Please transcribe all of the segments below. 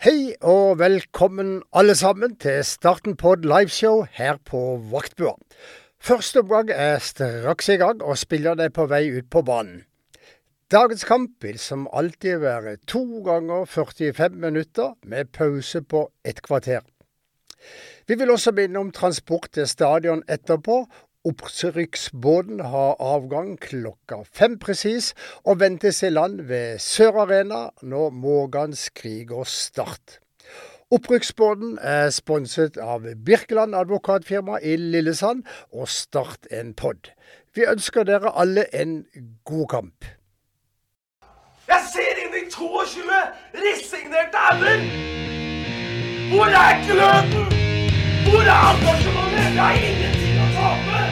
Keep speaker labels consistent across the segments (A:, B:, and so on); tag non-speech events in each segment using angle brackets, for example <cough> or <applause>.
A: Hei og velkommen alle sammen til starten på et liveshow her på Vaktbua. Første omgang er straks i gang, og spillerne er på vei ut på banen. Dagens kamp vil som alltid være to ganger 45 minutter, med pause på ett kvarter. Vi vil også minne om transport til stadion etterpå. Opprykksbåten har avgang klokka fem presis og ventes i land ved Sør Arena når Mågan Skriger Start. Opprykksbåten er sponset av Birkeland advokatfirma i Lillesand og Start en pod. Vi ønsker dere alle en god kamp.
B: Jeg ser inn i 22 resignerte ender! Hvor er gløden? Hvor er engasjementet? Jeg har ingenting å tape!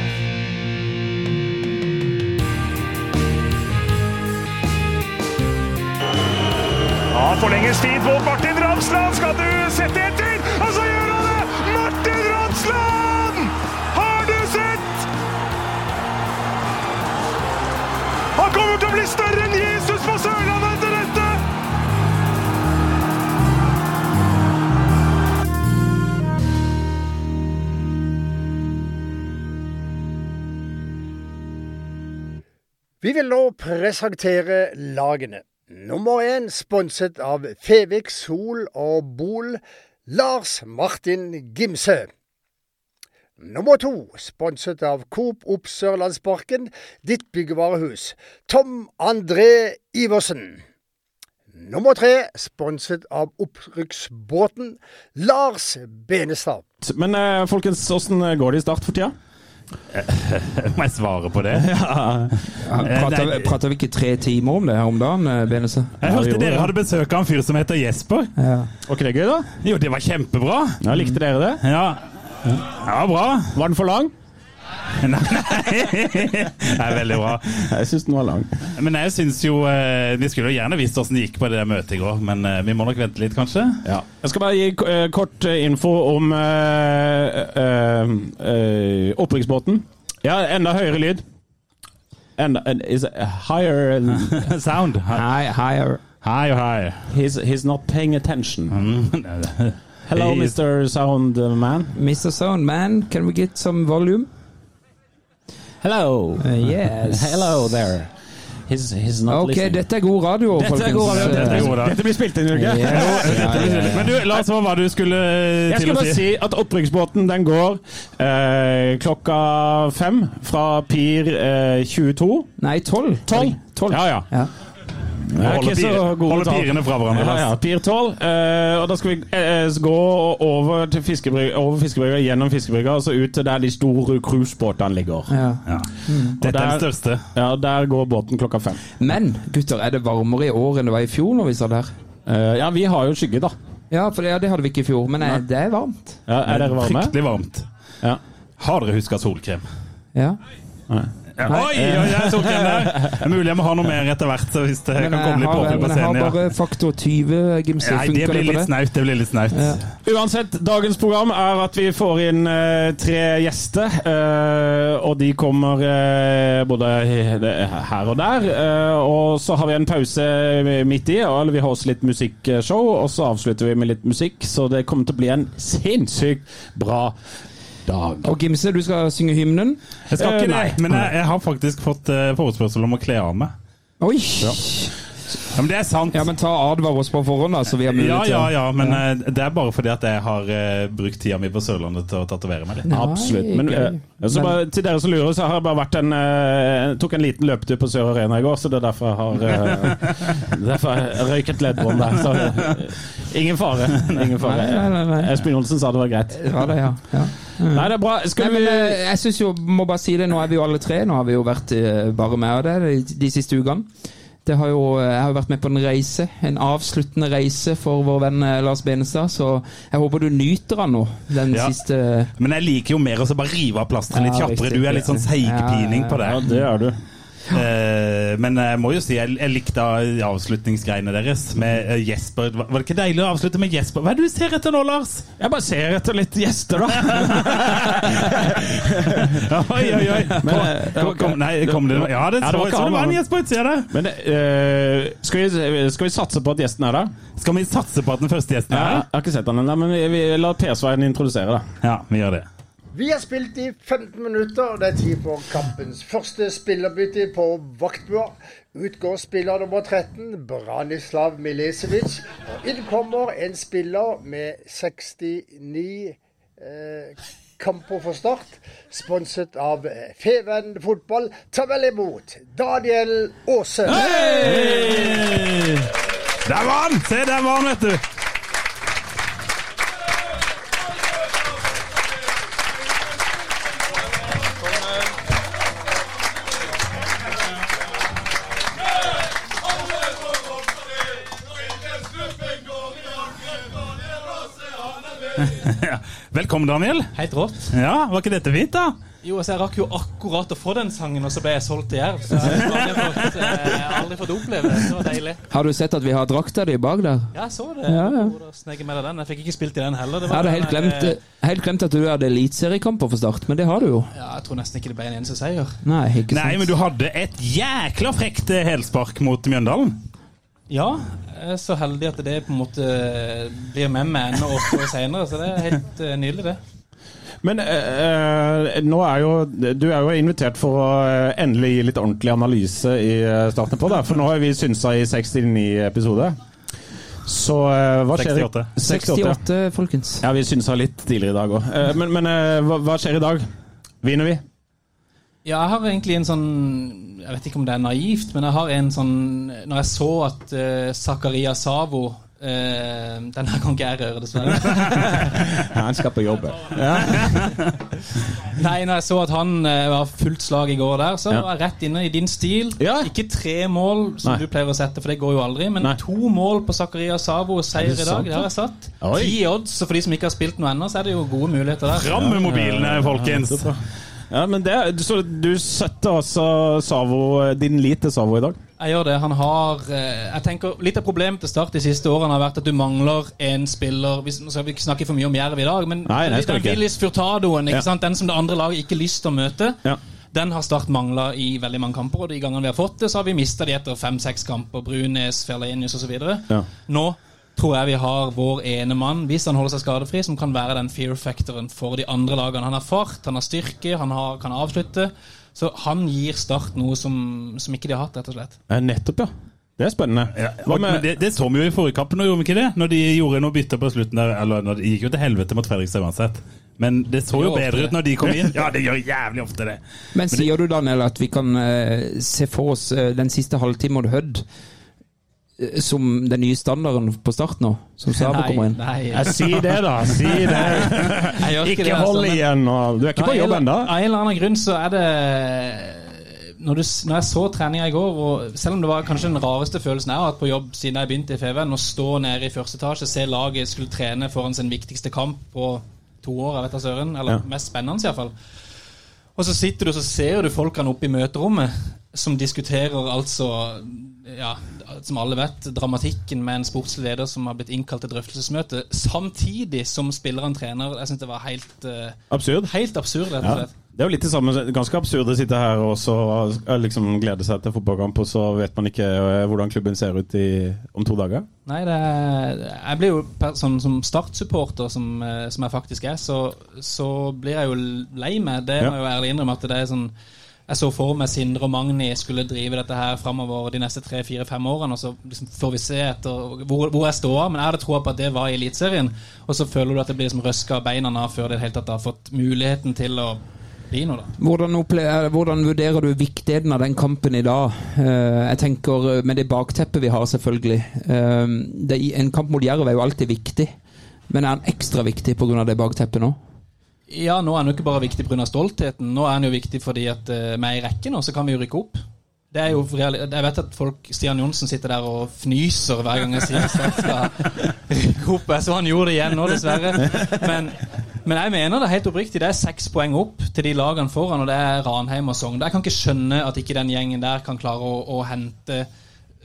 C: Ja, forlenges tid på Martin Ramsland. Skal du sette etter? Og så gjør han det! Martin Ramsland! Har du sett? Han kommer til å bli større enn Jesus på Sørlandet etter dette!
A: Vi vil nå presentere lagene. Nummer én sponset av Fevik Sol og Bol, Lars Martin Gimse. Nummer to sponset av Coop Opp Sørlandsparken, Ditt byggevarehus, Tom André Iversen. Nummer tre sponset av opprykksbåten, Lars Benestad.
D: Men eh, folkens, åssen går det i Start for tida?
E: Må jeg svare på det? Eh,
F: Prata,
E: nei,
F: prata vi ikke tre timer om det her om dagen, eh, Benese?
E: Jeg hørte dere hadde besøk av en fyr som heter Jesper.
D: Var ikke det gøy, da?
E: Jo, det var kjempebra.
D: Ja, Likte dere det?
E: Ja, ja bra.
D: Var den for lang?
E: Nei, det er veldig bra.
D: Jeg syns den var lang.
E: Men jeg syns jo eh, De skulle jo gjerne visst åssen det gikk på det der møtet i går, men eh, vi må nok vente litt, kanskje?
D: Ja. Jeg skal bare gi k- eh, kort eh, info om eh, eh, eh, opprykksbåten. Ja, enda høyere lyd. Enda, en- is eh, <laughs> higher
E: <laughs> Sound. oh, Hei,
F: Nei, higher.
E: hei. hei.
D: he's, he's not paying attention.
E: Mm.
D: Hello,
E: He's-
D: Mr. Soundman.
F: Mr. Sound Man, can we get some volume?
D: Hello.
F: Uh, <laughs> yes.
D: Hello there. He's, he's not eh,
F: Ok, dette er god radio, folkens.
E: dette er god radio.
D: Dette blir spilt inn, gjør det ikke?
F: Yes. Ja, ja,
E: <laughs>
F: ja.
E: Men du, Lars, hva var det du skulle eh,
D: Jeg
E: til
D: skal
E: å
D: bare
E: si?
D: si at opprykksbåten den går eh, klokka fem fra Pir eh, 22.
F: Nei, tolv.
D: Tolv? Ja, ja.
F: Ja.
D: Jeg er
E: Holde
D: ikke så
E: pir-
D: god
E: holde
D: med tall.
E: pirene fra hverandre,
D: Ja,
E: Lars.
D: ja. Pir 12. Eh, og da skal vi eh, gå over til fiskebrygga, over fiskebrygga, gjennom fiskebrygga, og så ut til der de store cruisebåtene ligger.
F: Ja.
E: Ja. Dette er den
D: der-
E: største.
D: Ja, der går båten klokka fem.
F: Men gutter, er det varmere i år enn det var i fjor når vi satt her?
D: Eh, ja, vi har jo skygge, da.
F: Ja, for det, ja, det hadde vi ikke i fjor, men eh, det er varmt.
D: Ja, er dere varme?
E: Fryktelig varmt.
D: Ja.
E: Har dere huska solkrem?
F: Ja.
E: Ja. Oi, oi, oi, solkrem der! Det er mulig jeg må ha noe mer etter hvert, så hvis det kan komme
F: jeg
E: litt
F: har,
E: påfyll på
F: men jeg har
E: scenen. Ja.
F: bare faktor 20, Gimse.
E: Nei, det
F: Funker
E: blir
F: det på
E: litt
F: det?
E: snaut. Det blir litt snaut.
F: Ja.
D: Uansett, dagens program er at vi får inn eh, tre gjester, eh, og de kommer eh, både he- he- her og der. eh, og så har vi en pause midt i, og- eller vi har også litt musikkshow, og så avslutter vi med litt musikk. Så det kommer til å bli en sinnssykt bra dag.
F: Og Gimse, du skal synge hymnen.
E: Jeg skal
D: Eh,
E: ikke det,
D: nei.
E: men jeg, jeg har faktisk fått eh, forespørsel om å kle av meg.
F: Oi!
E: Ja, men det er sant.
F: Ja, men ta advar oss på forhånd, da, så vi har mulighet
E: Ja,
F: til
E: ja, ja, men eh, det er bare fordi at jeg har eh, brukt tida mi på Sørlandet til å tatovere meg litt.
F: Nei,
D: Absolutt. Men,
F: gøy.
D: eh, så bare, til dere som lurer, så har jeg bare vært en eh, tok en liten løpetur på Sør Arena i går, så det er derfor jeg har
F: <laughs>
D: eh, Derfor jeg røyk et leddbånd der. Så eh, ingen
F: <laughs>
D: fare. Ingen fare.
F: Nei, nei, nei, nei.
D: Espen Johnsen sa det var greit.
F: Ja, det, ja. ja.
D: Nei, det er bra.
F: Nei,
D: Skal
F: men
D: vi
F: eh, jeg synes jo, må bare si det, nå er vi jo alle tre. Nå har vi jo vært eh, bare med og det de, de siste ukene. Det har jo, eh, jeg har jo vært med på en reise, en avsluttende reise for vår venn eh, Lars Benestad. Så jeg håper du nyter han nå, den
E: Ja.
F: siste
E: Men jeg liker jo mer å så bare rive av plasteret litt
F: Ja,
E: kjappere.
F: riktig.
E: Du er litt sånn seigpining på det.
D: Ja, det er du.
E: Eh, men jeg må jo si jeg, jeg likte avslutningsgreiene deres med eh, Jesper. Var var det ikke deilig å avslutte med Jesper? Hva er det du ser etter nå,
D: <laughs>
E: Lars?
D: Jeg bare ser etter litt gjester, da.
E: Oi, oi, oi. Kom,
D: Men, eh,
E: kom, kom, nei, kom det, ja, det,
D: Ja, det
E: så
D: var
E: ut som
D: ikke han,
E: det var en
D: han.
E: Jesper utsida der.
D: <laughs> Men eh, skal, vi, skal vi satse på at gjesten er der?
E: Skal vi satse på at den første gjesten
D: Ja,
E: er
D: jeg
E: her?
D: har ikke sett han ennå, men vi, vi lar Per Svein introdusere, da.
E: Ja, vi gjør det.
A: Vi har spilt i 15 minutter, og det er tid for kampens første spillerbytte på vaktbua. Ut går spiller nummer 13, Branislav Milisevic. Og inn kommer en spiller med 69 eh, kamper for Start. Sponset av eh, Feven fotball. Ta vel imot Daniel Aase.
E: Der var han! Se, der var han, vet du. <laughs> Ja. Velkommen, Daniel.
G: Helt rått.
E: Ja, Var ikke dette fint, da?
G: Jo, altså, Jeg rakk jo akkurat å få den sangen, og så ble jeg solgt til Jerv. Så jeg har aldri fått, eh, aldri fått oppleve det. Det var deilig.
F: Har du sett at vi har drakta di bak der?
G: Ja, jeg så det.
F: Ja, ja.
G: Hvor da Sneker med deg den. Jeg fikk ikke spilt i den heller. Det
F: Jeg
G: var
F: hadde
G: den
F: helt
G: der,
F: glemt,
G: eh,
F: helt glemt at du hadde eliteseriekamper for Start, men det har du jo.
G: Ja, jeg tror nesten ikke det ble en eneste seier.
F: Nei, ikke sant.
E: Nei, men du hadde et jækla frekt eh, helspark mot Mjøndalen.
G: Ja, jeg er så heldig at det på en måte eh, blir med meg ennå åtte år senere, så det er helt eh, nydelig, det.
D: Men eh, eh, nå er jo du er jo invitert for å eh, endelig gi litt ordentlig analyse i eh, starten på det. For nå har vi synsa i 69 episoder. Så eh, hva skjer i-
E: 68.
D: 68.
F: 68, folkens.
D: Ja, vi synsa litt tidligere i dag òg. men men eh, hva, hva skjer i dag? Vinner vi?
G: Ja, jeg har egentlig en sånn Jeg vet ikke om det er naivt, men jeg har en sånn Når jeg så at uh, Zakaria Savo eh, Den her kan ikke jeg røre, dessverre.
D: <laughs> Han skal på jobb.
G: Nei, når jeg så at han eh, var fullt slag i går der, så
D: Ja.
G: var jeg rett inne i din stil.
D: Ja.
G: Ikke tre mål, som
D: Nei.
G: du pleier å sette, for det går jo aldri, men
D: Nei.
G: to mål på Zakaria Savo og seier i dag.
D: sant,
G: Det har jeg satt.
D: Oi.
G: Ti odds, og for de som ikke har spilt noe ennå, så er det jo gode muligheter der.
E: Fram med mobilene, folkens!
D: Ja, men det, så du setter altså Savo, din lit til Savo i dag?
G: Jeg gjør det. Han har eh, jeg tenker Litt av problemet til Start de siste årene har vært at du mangler en spiller Hvis, Nå skal vi ikke snakke for mye om Jerv i dag, men
D: Nei, nei, skal vi
G: den
D: ikke.
G: Willis Furtadoen, ikke
D: Ja.
G: sant? den som det andre laget ikke lyst til å møte,
D: Ja.
G: den har Start mangla i veldig mange kamper. Og de gangene vi har fått det, så har vi mista de etter fem-seks kamper. Brunes, Ferlenius osv.
D: Ja.
G: Nå tror jeg vi har vår ene mann, hvis han holder seg skadefri, som kan være den fear factoren for de andre lagene. Han har fart, han har styrke, han har, kan avslutte. Så han gir Start noe som, som ikke de har hatt, rett og slett.
D: Eh, Nettopp, ja. Det er spennende.
E: Ja, og, men det, det så vi jo i forrige kamp, nå gjorde vi ikke det? Når de gjorde noe bytte på slutten der. Eller når de gikk jo til helvete mot Fredrikstad uansett. Men det så jo
G: Det gjør ofte
E: bedre ut når de kom inn. Ja, det gjør jævlig ofte det.
F: Men sier du, Daniel, at vi kan eh, se for oss eh, den siste halvtimen mot Hødd eh, som den nye standarden på start nå? Som Sabo kommer inn?
G: Nei,
D: Jeg sier det, da. Si det.
G: jeg gjør
D: Ikke
G: altså,
D: hold
G: men-
D: igjen. Og, du er ikke på jobb
G: Av en-
D: ennå?
G: Av en eller annen grunn så er det når, du, s- når jeg så treninga i går, og selv om det var kanskje den rareste følelsen jeg har hatt på jobb siden jeg begynte i FVN, å stå nede i første etasje, se laget skulle trene foran sin viktigste kamp på to år, jeg vet da søren, eller
D: Ja.
G: mest spennende iallfall. Og så sitter du og så ser du folkene oppe i møterommet som diskuterer altså ja, Som alle vet, dramatikken med en sportslig leder som har blitt innkalt til drøftelsesmøte, samtidig som spilleren trener. Jeg syns det var helt eh,
D: Absurd.
G: Helt absurd, rett
D: Ja.
G: og slett.
D: Det er jo litt det samme. Ganske absurd å sitte her og så eh, liksom glede seg til fotballkamp, og så vet man ikke eh, hvordan klubben ser ut i, om to dager.
G: Nei, det er, jeg blir jo per- sånn som Start-supporter, som, eh, som jeg faktisk er, så, så blir jeg jo lei meg. Det
D: Ja.
G: må jeg jo ærlig innrømme at det er sånn Jeg så for meg Sindre og Magni skulle drive dette her framover de neste tre-fire-fem årene, og så liksom får vi se etter hvor, hvor jeg står. Men jeg hadde troa på at det var i Eliteserien, og så føler du at det blir liksom røska av beina av før det i det hele tatt har fått muligheten til å bli noe, da.
F: Hvordan, opple- eh, hvordan vurderer du viktigheten av den kampen i dag? Eh, jeg tenker eh, Med det bakteppet vi har, selvfølgelig. Eh, det, en kamp mot Jerv er jo alltid viktig. Men er den ekstra viktig pga. det bakteppet nå?
G: Ja, nå er han jo ikke bare viktig pga. stoltheten. Nå er han jo viktig fordi at eh, med i rekken nå, så kan vi jo rykke opp. Det er jo reali jeg vet at folk, Stian Johnsen sitter der og fnyser hver gang jeg sier at Start skal rykke opp. Jeg så han gjorde det igjen nå, dessverre. Men Men jeg mener det helt oppriktig. Det er seks poeng opp til de lagene foran, og det er Ranheim og Sogndal. Jeg kan ikke skjønne at ikke den gjengen der kan klare å, å hente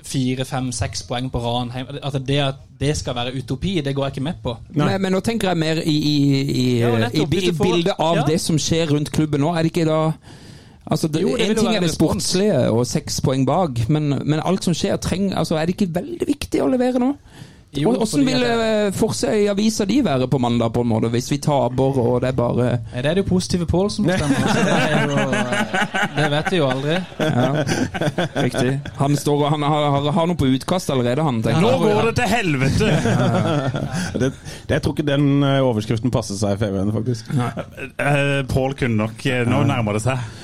G: fire, fem, seks poeng på Ranheim. At det, at det skal være utopi, det går jeg ikke med på.
F: Men, men nå tenker jeg mer i, i, i,
G: Ja, nettopp,
F: i,
G: hvis
F: bi-
G: du får-
F: bildet av
G: ja.
F: det som skjer rundt klubben nå. Er det ikke da Altså, det,
G: Jo, det vil
F: En
G: jo
F: ting
G: være
F: er det
G: respons.
F: sportslige og seks poeng bak, men, men alt som skjer, treng, altså, er det ikke veldig viktig å levere nå?
G: Jo,
F: Åssen
G: fordi
F: vil eh, Forsøy-avisa di være på mandag, på en måte, hvis vi taper og det er bare
G: <laughs> Nei, Det er det jo positive Pål som bestemmer. så Det, er jo, eh, det vet vi jo aldri.
F: Riktig. Han, står, og- han har, har, har noe på utkast allerede, han. tenker
E: Nå
F: jeg.
E: går det til helvete!
D: Det, det, jeg tror ikke den eh, overskriften passer seg i FVN, faktisk.
E: <laughs> Eh, Pål kunne nok eh, Nå nærmer det seg.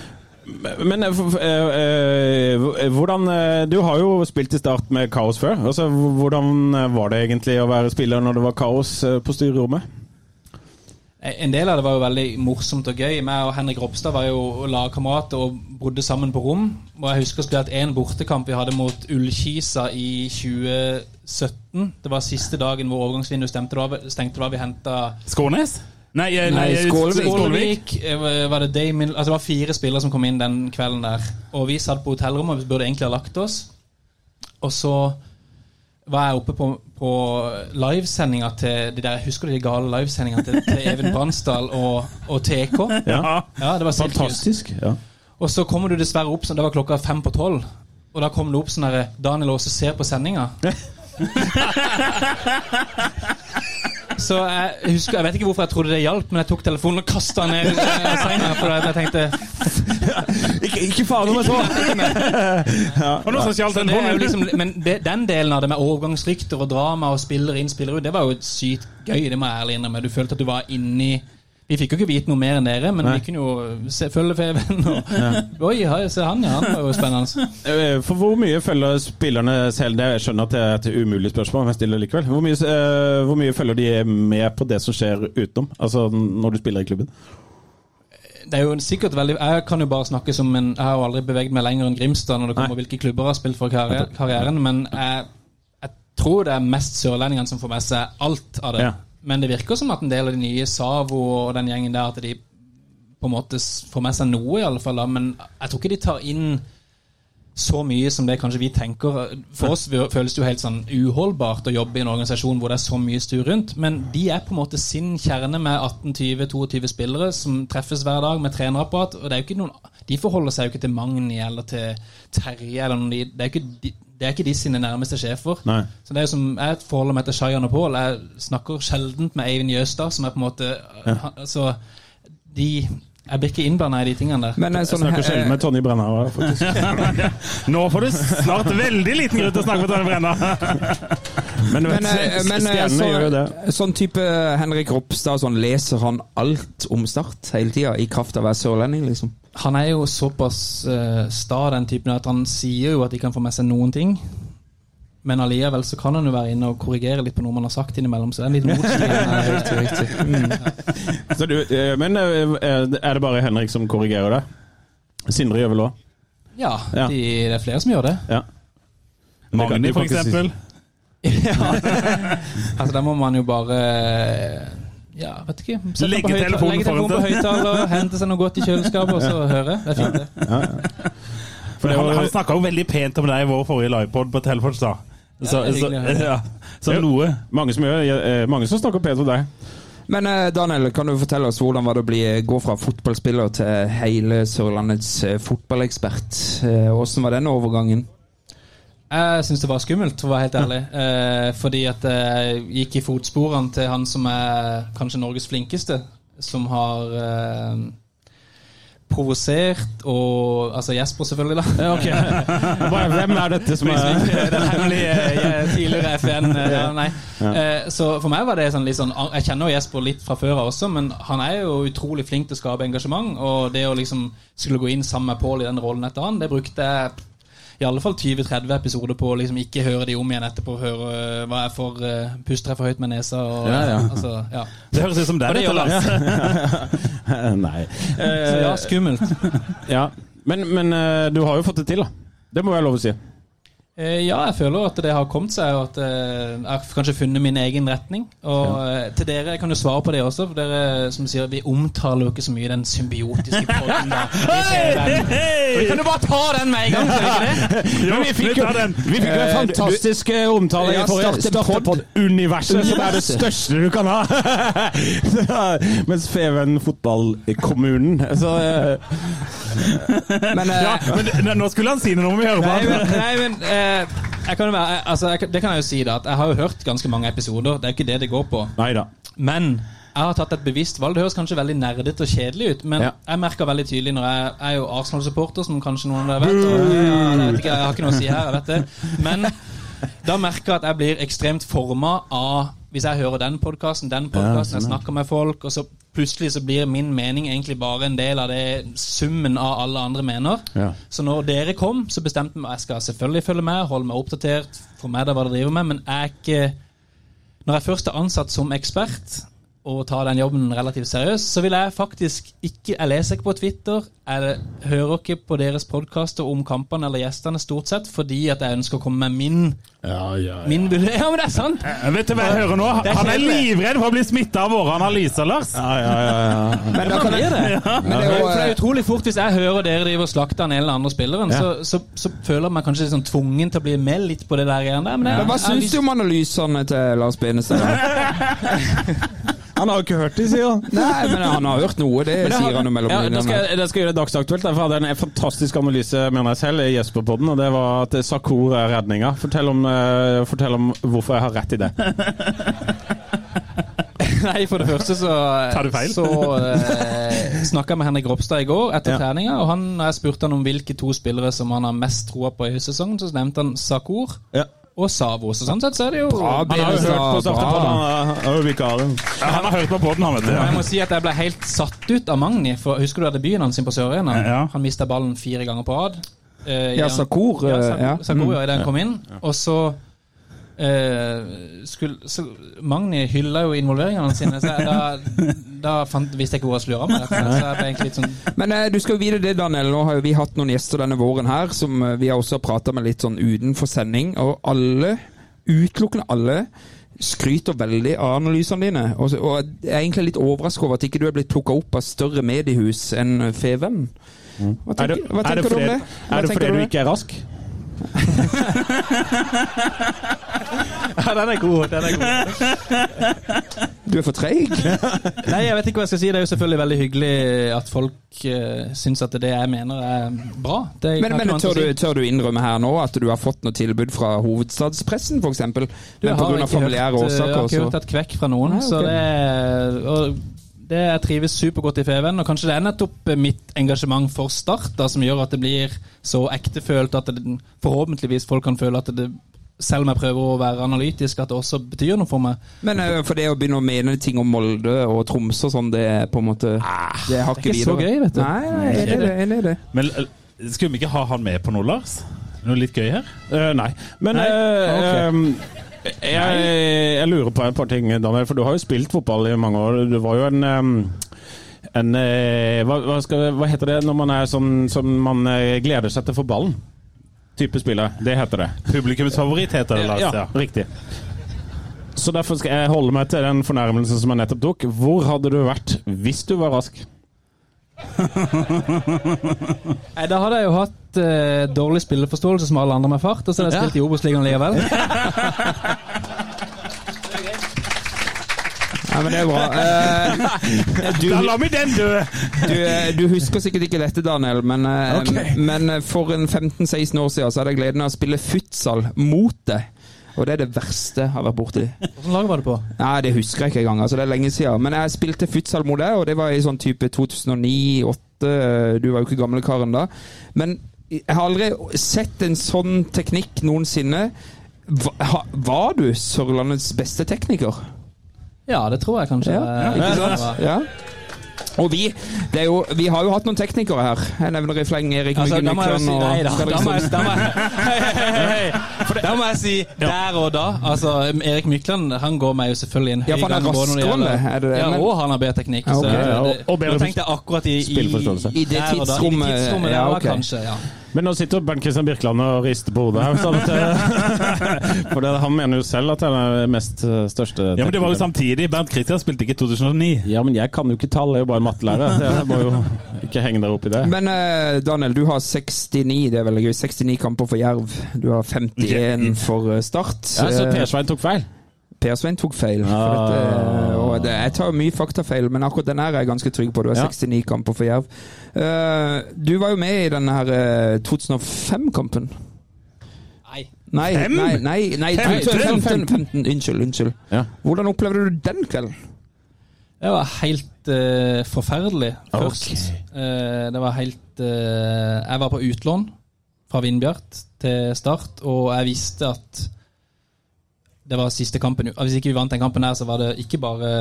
D: Men eh, f- f- eh, eh, hvordan eh, Du har jo spilt i start med kaos før. Altså, h- Hvordan eh, var det egentlig å være spiller når det var kaos eh, på styrerommet?
G: Eh, En del av det var jo veldig morsomt og gøy. Jeg og Henrik Ropstad var jo lagkamerater og bodde sammen på rom. Og jeg husker spilt én bortekamp vi hadde mot Ullkisa i 2017. Det var siste dagen hvor overgangsvinduet stemte. Da var- stengte. Da vi henta
E: Skånes? Nei, eh, nei,
F: Nei, Skålevik.
E: Skålevik.
G: Skålevik. eh, Var det, Damien, altså det var fire spillere som kom inn den kvelden der. Og vi satt på hotellrommet og vi burde egentlig ha lagt oss. Og så var jeg oppe på, på livesendinga til de der, Husker du de gale livesendinga til, til Even Bransdal og, og TK?
D: Ja.
G: Ja, det var Silkehus.
D: Fantastisk. Ja.
G: Og så kommer du dessverre opp sånn, Det var klokka fem på tolv. Og da kom det opp sånn derre Daniel Aase ser på sendinga. Så jeg husker, jeg vet ikke hvorfor jeg trodde det hjalp, men jeg tok telefonen og kasta den ned i senga. For jeg tenkte,
D: Ikke, ikke faen om jeg så!
E: Og nå skal Kjall
G: så det er jo
E: telefonen.
G: liksom, Men det, den delen av det med overgangsrykter og drama og spiller inn, spiller ut, det var jo sykt gøy. Det må jeg ærlig innrømme. Du følte at du var inni Vi fikk jo ikke vite noe mer enn dere, men vi kunne jo se, følge Feven og Oi, hei, se han, ja. Han var jo spennende.
D: Eh, For hvor mye følger spillerne selv det? Jeg skjønner at det er et umulig spørsmål, men jeg stiller likevel. Hvor mye, eh, hvor mye følger de med på det som skjer utenom? Altså når du spiller i klubben?
G: Det er jo sikkert veldig Jeg kan jo bare snakke som en Jeg har jo aldri beveget meg lenger enn Grimstad når det kommer
D: Nei.
G: hvilke klubber jeg har spilt for karri- karrieren, men jeg, jeg tror det er mest sørlendingene som får med seg alt av det.
D: Ja.
G: Men det virker som at en del av de nye Savo og den gjengen der, at de på en måte s- får med seg noe, i alle fall. da, Men jeg tror ikke de tar inn så mye som det kanskje vi tenker. For oss føles det jo helt sånn uholdbart å jobbe i en organisasjon hvor det er så mye styr rundt, men de er på en måte sin kjerne med 18-20-22 spillere som treffes hver dag med trenerapparat. og det er jo ikke noen, De forholder seg jo ikke til Magni eller til Terje. eller noen, de- Det er jo ikke de, det er ikke de sine nærmeste sjefer.
D: Nei.
G: Så det er jo som, Jeg forholder meg til Shayan og Pål. Jeg snakker sjelden med Eivind Jøstad, som er på en måte han, altså, de, Jeg blir ikke innblanda i de tingene der.
F: Men eh,
D: Jeg
F: sånn
D: snakker
F: eh,
D: sjelden med Tonje Brenna. faktisk.
E: <laughs> <laughs> Nå får du snart veldig liten grunn til å snakke med Tonje Brenna.
D: Men,
F: Men,
D: vet,
F: eh, men eh,
D: stjernene gjør jo det.
F: så, sånn type Henrik Ropstad, sånn leser han alt om Start hele tida, i kraft av å være sørlending, liksom?
G: Han er jo såpass eh, sta, den typen, at han sier jo at de kan få med seg noen ting. Men allikevel så kan han jo være inne og korrigere litt på noe man har sagt innimellom. Så det er en liten motstand.
F: Riktig, riktig.
D: Så du, eh, men eh, er det bare Henrik som korrigerer deg? Sindre gjør vel òg?
G: Ja,
D: Ja.
G: de, det er flere som gjør det.
D: Ja.
E: Magni, for eksempel.
G: Altså, Der må man jo bare ja, vet ikke. sette
E: Legge
G: på høyta-
E: telefonen
G: legge
E: foran
G: telefonen på
E: seg.
G: høyttaler, hente seg noe godt i kjøleskapet og så høre. Det er fint, det.
E: For han han snakka jo veldig pent om deg i vår forrige livepod på Telfors, da. Så,
G: Ja, det er
E: så,
G: hyggelig å høre.
E: <laughs> ja. så
D: Jo.
E: noe.
D: Mange som, gjør, eh, mange som snakker pent om
E: <laughs>
D: deg.
F: Men eh, Daniel, kan du fortelle oss hvordan var det å bli, eh, gå fra fotballspiller til hele Sørlandets eh, fotballekspert? Eh, Hvordan var den overgangen?
G: Jeg syns det var skummelt, for å være helt ærlig. Eh, fordi at jeg gikk i fotsporene til han som er kanskje Norges flinkeste, som har eh, provosert og Altså Jesper, selvfølgelig, da. <laughs>
D: Hvem er dette som er <laughs>
G: Den hemmelige eh, tidligere FN. eh, Ja, nei. Eh, Så for meg var det sånn litt sånn Jeg kjenner jo Jesper litt fra før av også, men han er jo utrolig flink til å skape engasjement. Og det å liksom skulle gå inn sammen med Pål i den rollen etter han, det brukte jeg i alle fall 20-30 episoder på å liksom ikke høre de om igjen etterpå. Høre eh, hva jeg får eh, Puster jeg for høyt med nesa? Og,
D: Ja, ja.
G: Altså, ja.
E: Det høres ut som
G: Og
E: deg,
G: det
E: dette,
G: gjør det.
E: Lars.
D: <laughs> Nei.
G: Så
D: Eh,
G: ja, skummelt.
D: ja. Men, men eh, du har jo fått det til, da. Det må være lov å si.
G: Eh, Ja, jeg føler at det har kommet seg, og at eh, jeg har kanskje funnet min egen retning. Og eh, til dere jeg kan jo svare på det også, for dere som sier vi omtaler jo ikke så mye den <laughs> symbiotiske podden der. Vi ser den. Vi kan jo bare ta den med en gang, skal vi ikke det?
D: Men vi fikk jo
E: slutt av den.
D: vi fikk jo en fantastisk eh, omtale i
F: Ja,
D: forrige
F: starte pod.
D: Startepod-universet, som er det
F: Universet.
D: største du kan ha! <laughs> Så, Mens Feven fotballkommunen Så eh,
F: Men, eh,
E: Ja, men det- nå skulle han si noe om vi hører på
G: Nei,
E: han.
G: men, nei, men eh, jeg kan jo være, altså, jeg, kan- det kan jeg jo si, da. At jeg har jo hørt ganske mange episoder. Det er jo ikke det det går på.
D: Nei da.
G: Men jeg har tatt et bevisst valg. Det høres kanskje veldig nerdete og kjedelig ut, men
D: Ja.
G: jeg merker veldig tydelig når jeg, jeg er jo Arsenal-supporter, som kanskje noen av dere vet. Og, ja, jeg, vet ikke, jeg har ikke noe å si her, jeg vet det. Men da merker jeg at jeg blir ekstremt forma av Hvis jeg hører den podkasten, den podkasten, jeg snakker med folk, og så plutselig så blir min mening egentlig bare en del av det summen av alle andre mener.
D: Ja.
G: Så når dere kom, så bestemte jeg meg Jeg skal selvfølgelig følge med, holde meg oppdatert, få med deg hva dere driver med, men jeg er ikke når jeg først er ansatt som ekspert og tar den jobben relativt seriøst, så vil jeg faktisk ikke Jeg leser ikke på Twitter, jeg hører ikke på deres podkaster om kampene eller gjestene, stort sett, fordi at jeg ønsker å komme med min Min vurdering. <laughs> Ja, men det er sant!
E: Eh, Vet du hva jeg hører nå?
G: Det er
E: Han er
G: kjedelig.
E: livredd for å bli smitta av våre analyser, Lars.
F: men da
G: Man
F: kan jeg,
G: blir det.
F: men det er jo,
G: For det er
F: eh,
G: utrolig fort Hvis jeg hører dere driver og slakter den ene eller andre spilleren,
D: Ja.
G: så, så, så føler jeg meg kanskje litt sånn tvungen til å bli med litt på det der igjen. der, Men, jeg,
F: men hva
G: jeg har
F: syns
G: lyst-
F: du om analysene til Lars Benestad?
D: <laughs> Han har jo ikke hørt det, sier han.
F: Nei, men han har hørt noe, det
D: Men jeg
F: sier
D: har-
F: han jo mellom
D: ja, da skal,
F: linjene.
D: jeg- da skal jeg gjøre det dagsaktuelt. da, For jeg hadde en fantastisk analyse mener jeg selv i Jesper-podden, og det var at Sakur er redninga. Fortell om, eh, fortell om hvorfor jeg har rett i det.
G: Nei, for det første så
E: Tar du feil?
G: Så eh, snakka jeg med Henrik Ropstad i går etter
D: Ja.
G: treninga, og han, når jeg spurte han om hvilke to spillere som han har mest troa på i høstsesongen, så nevnte han Sakur
D: Ja.
G: og Savo. Så sånn sett så er det jo
F: Bra,
D: Han har jo
F: Benestad,
D: hørt på
F: bra.
D: Startepodden, han er- er jo vikaren.
E: Ja, han har hørt på podden, han, vet du.
G: Men jeg må si at jeg ble helt satt ut av Magni. For Husker du debuten hans inn på Sør-Arena?
E: Ja.
G: Han mista ballen fire ganger på rad. Eh,
F: Ja,
G: gjennom-
F: Sakur,
G: Ja,
F: eh,
G: Sakur,
F: ja.
G: Sakur, ja, idet han kom inn. Og så eh, skulle så Magni hylla jo involveringene sine, så jeg, da, da fant, visste jeg ikke hvor jeg skulle gjøre av meg. rett og slett. Så jeg ble egentlig litt sånn
F: Men eh, du skal jo vite det, Daniel. Nå har jo vi hatt noen gjester denne våren her som eh, vi har også prata med litt sånn utenfor sending, og alle, utelukkende alle, skryter veldig av analysene dine. Og, så- og jeg er egentlig litt overraska over at ikke du er blitt plukka opp av større mediehus enn eh, Feven. Hva
D: Mm. Er det,
F: tenker, hva
D: er det
F: tenker du om
D: fordi,
F: det? Hva
D: er det
F: tenker
D: fordi
F: om
D: du
F: det?
D: ikke er rask?
G: Ja, den er god. den er god.
F: Du er for
D: <laughs>
F: treig?
G: Nei, jeg vet ikke hva jeg skal si. Det er jo selvfølgelig veldig hyggelig at folk uh, syns at det jeg mener er bra. Det kan
F: Men,
G: ikke
F: men
G: noe annet å
F: tør, du,
G: si.
F: tør du innrømme her nå at du har fått noe tilbud fra hovedstadspressen, f.eks.?
G: Du,
F: Men
G: jeg har
F: pga.
G: ikke
F: familiære
G: hørt, eh, Jeg har
F: årsaker?
G: ikke
F: så-
G: hørt et kvekk fra noen.
F: Nei, ok.
G: Så det er, og det jeg trives supergodt i Feven, og kanskje det er nettopp eh, mitt engasjement for Start da, som gjør at det blir så ektefølt at det, forhåpentligvis folk kan føle at det, selv om jeg prøver å være analytisk, at det også betyr noe for meg.
F: Men eh, for det å begynne å mene ting om Molde og Tromsø og sånn, det er på en måte Det har
G: det er ikke så gøy, vet du.
F: Nei, nei, enig i det. Enig i det.
E: Men eh, skulle vi ikke ha han med på noe, Lars? Noe litt gøy her?
D: Eh, nei. Men
E: Nei?
D: eh,
E: Ok.
D: ehm, jeg, jeg lurer på et par ting, Daniel. For du har jo spilt fotball i mange år. Du var jo en ehm, en, eh, hva, hva, skal, hva heter det når man er sånn som man eh, gleder seg til for ballen? Type spiller. Det heter det.
E: Publikumsfavoritt heter det, Lars.
D: Ja,
E: Ja.
D: riktig. Så derfor skal jeg holde meg til den fornærmelsen som jeg nettopp tok. Hvor hadde du vært hvis du var rask?
G: Nei, Da hadde jeg jo hatt eh, dårlig spilleforståelse som alle andre med fart, og så hadde jeg spilt i Obos-ligaen likevel.
F: Ja, men det <laughs> er bra. Eh, du,
E: Da lar vi den dø!
F: du, eh, du husker sikkert ikke dette, Daniel, men, eh, men eh, for en 15-16 år siden så hadde jeg gleden av å spille futsal mot deg. Og det er det verste jeg har vært borti.
G: Hvilket lag var det på?
F: Nei, det husker jeg ikke engang. Altså, det er lenge siden. Men jeg spilte futsal mot deg, og det var i sånn type 2009-2008. Du var jo ikke gamlekaren da. Men jeg har aldri sett en sånn teknikk noensinne. Va- ha- Var du Sørlandets beste tekniker?
G: Ja, det tror jeg kanskje.
F: Ja,
G: eh,
F: ikke
G: det
F: sant?
G: var.
F: Ja. Og vi, det er jo, vi har jo hatt noen teknikere her. Jeg nevner i fleng Erik
G: Altså,
F: Myggen
G: da må jeg jo
F: Mykland
G: si Nei da.
F: og
G: Da må jeg, da må <laughs> jeg, hei, hei, hei, hei. liksom- Da må jeg si der og da. Altså, Erik Mykland han går meg jo selvfølgelig en høy
F: Ja, for han er
G: gang både når det
F: raskere,
G: gjelder-
F: er det det?
G: Ja,
F: Men-
G: og han har bedre teknikk.
F: Ja, ok.
G: så,
D: Ja, og- og bedre
G: nå tenkte jeg akkurat i, i,
D: spillforståelse.
F: I det
G: der og da. I
F: tidsrommet,
G: tidsrommet der,
F: ja,
G: ja,
F: ok.
G: kanskje. Ja.
D: Men nå sitter Bernt Kristian Birkeland og rister på hodet her. Sånn at, eh, <laughs> for det, han mener jo selv at han er den mest eh, største
E: Ja, men det var jo <laughs>
D: teknikeren.
E: samtidig. Bernt Kristian spilte ikke i 2009.
D: Ja, men jeg kan jo ikke tall, jeg er jo bare mattelærer. så Jeg må jo ikke henge dere opp i det.
F: Men eh, Daniel, du har 69 det er veldig gøy, 69 kamper for Jerv. Du har 51 for eh, Start.
D: Ja, så
F: Eh,
D: Per Svein tok feil.
F: Per Svein tok feil. For
E: Ah.
F: dette, og det, jeg tar jo mye faktafeil, men akkurat den her er jeg ganske trygg på. Du har
D: Ja.
F: 69 kamper for Jerv. Eh, du var jo med i den her eh, 2005-kampen.
G: Nei.
F: Nei,
E: Fem?
F: nei, nei, nei
E: Fem?
F: 2015, 15, unnskyld, unnskyld.
D: Ja.
F: Hvordan opplevde du den kvelden?
G: Det var helt eh, forferdelig først.
D: Ok.
G: Eh, det var helt eh, Jeg var på utlån fra Vindbjart til Start, og jeg visste at det var siste kampen. Hvis ikke vi vant den kampen her, så var det ikke bare